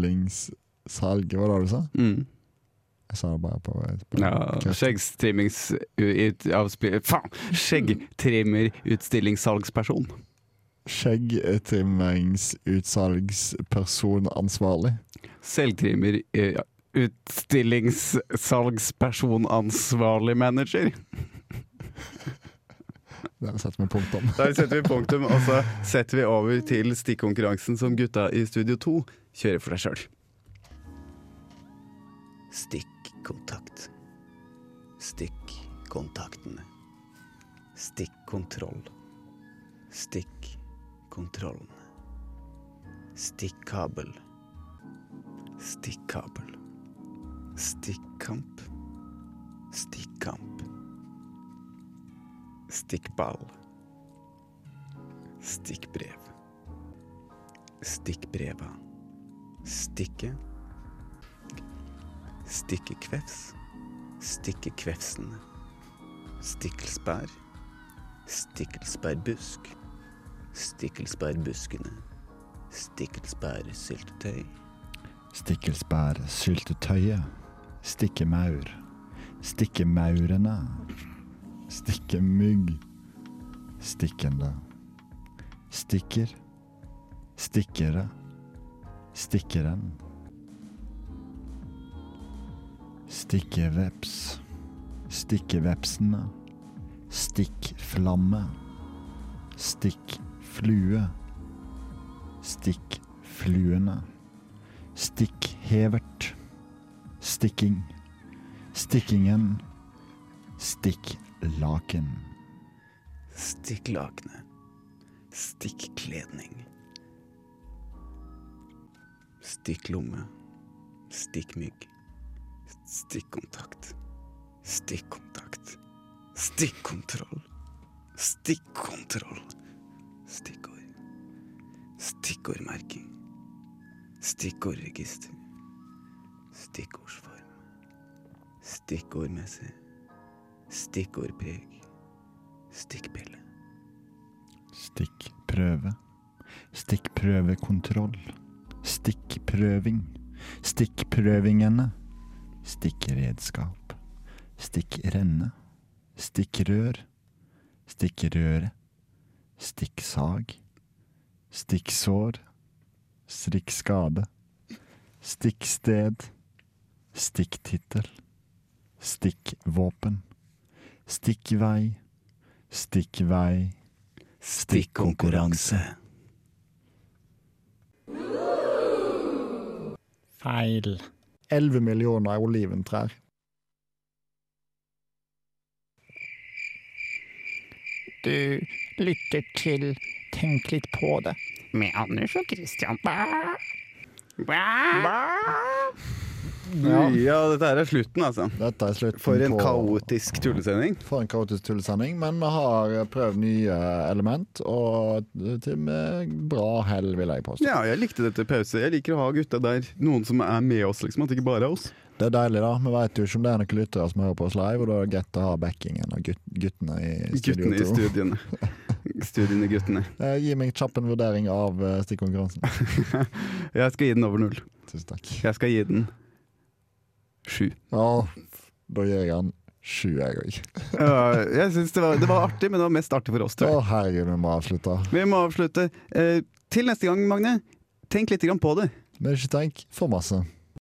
[SPEAKER 1] Skjeggtrimmingsutstillingssalg, hva var det du sa?
[SPEAKER 5] Mm.
[SPEAKER 1] Jeg sa det bare på, på
[SPEAKER 5] Ja,
[SPEAKER 1] kreft.
[SPEAKER 5] skjeggtrimmings... ut- avspi- Faen! Skjeggtrimmerutstillingssalgsperson.
[SPEAKER 1] Skjeggtrimmingsutsalgspersonansvarlig.
[SPEAKER 5] Selvtrimmer eh, utstillingssalgspersonansvarlig manager.
[SPEAKER 1] Den setter vi punktum.
[SPEAKER 5] Der setter vi punktum, og så setter vi over til stikkonkurransen som gutta i Studio 2 kjører for seg sjøl.
[SPEAKER 2] Stikkontakt. Stikkontaktene. Stikkontroll. Stikkontrollene. Stikkabel. Stikkabel. Stikkamp. Stikkamp. Stikkball. Stikkbrev. Stikkbreva. Stikke. Stikkekvefs. Stikkekvefsene. Stikkelsbær. Stikkelsbærbusk. Stikkelsbærbuskene. Stikkelsbærsyltetøy.
[SPEAKER 6] Stikkelsbær, syltetøyet. Stikkemaur. Stikkemaurene. Stikkemygg. Stikkende. Stikker. Stikkere. Stikkeren. Stikkeveps. Stikkevepsene. Stikkflamme. Stikkflue. Stikkfluene. Stikkhevert. Stikking. Stikkingen. Stikklaken.
[SPEAKER 2] Stikklakene. Stikkledning. Stikklomme. Stikkmygg. Stikkontakt. Stikkontakt. Stikkontroll. Stikkontroll. Stikkord. Stikkordmerking. Stikkordregister. Stikkordsform. Stikkordmessig. Stikkordpreg. Stikkpille.
[SPEAKER 6] Stikkprøve. Stikkprøvekontroll. Stikkprøving. Stikkprøvingene. Stikkredskap. Stikkrenne. Stikkrør. Stikkrøre. Stikksag. Stikksår. Strikkskade. Stikksted. Stikktittel. Stikkvåpen. Stikkvei. Stikkvei.
[SPEAKER 2] Stikkonkurranse.
[SPEAKER 9] Feil.
[SPEAKER 1] 11 millioner oliventrær.
[SPEAKER 9] Du lytter til Tenk litt på det.
[SPEAKER 8] Med Anders og Christian.
[SPEAKER 5] Ja. dette her er slutten, altså.
[SPEAKER 1] Dette er slutten
[SPEAKER 5] For en
[SPEAKER 1] på-
[SPEAKER 5] kaotisk tullesending.
[SPEAKER 1] For en kaotisk tullesending, men vi har eh, prøvd nye element, og til med bra hell, vil jeg påstå.
[SPEAKER 5] Ja, jeg likte dette pause. Jeg liker å ha gutta der. Noen som er med oss, liksom. At det ikke bare er oss.
[SPEAKER 1] Det er deilig, da. Vi vet jo ikke om det er noen lyttere som hører på oss live, og da er det greit å ha backingen av gut guttene i studio.
[SPEAKER 5] Guttene i
[SPEAKER 1] to.
[SPEAKER 5] studiene. Studiene, guttene.
[SPEAKER 1] Eh, Gi meg kjapp en vurdering av eh, stikkonkurransen.
[SPEAKER 5] Jeg skal gi den over null.
[SPEAKER 1] Tusen takk.
[SPEAKER 5] Jeg skal gi den sju.
[SPEAKER 1] Ja, da gir jeg han sju, jeg òg.
[SPEAKER 5] Øh, jeg synes det, var, det var artig, men det var mest artig for oss,
[SPEAKER 1] Å,
[SPEAKER 5] tror jeg.
[SPEAKER 1] herregud, vi må avslutte.
[SPEAKER 5] Vi må avslutte. Eh, til neste gang, Magne. Tenk litt grann på det.
[SPEAKER 1] Men ikke tenk for masse.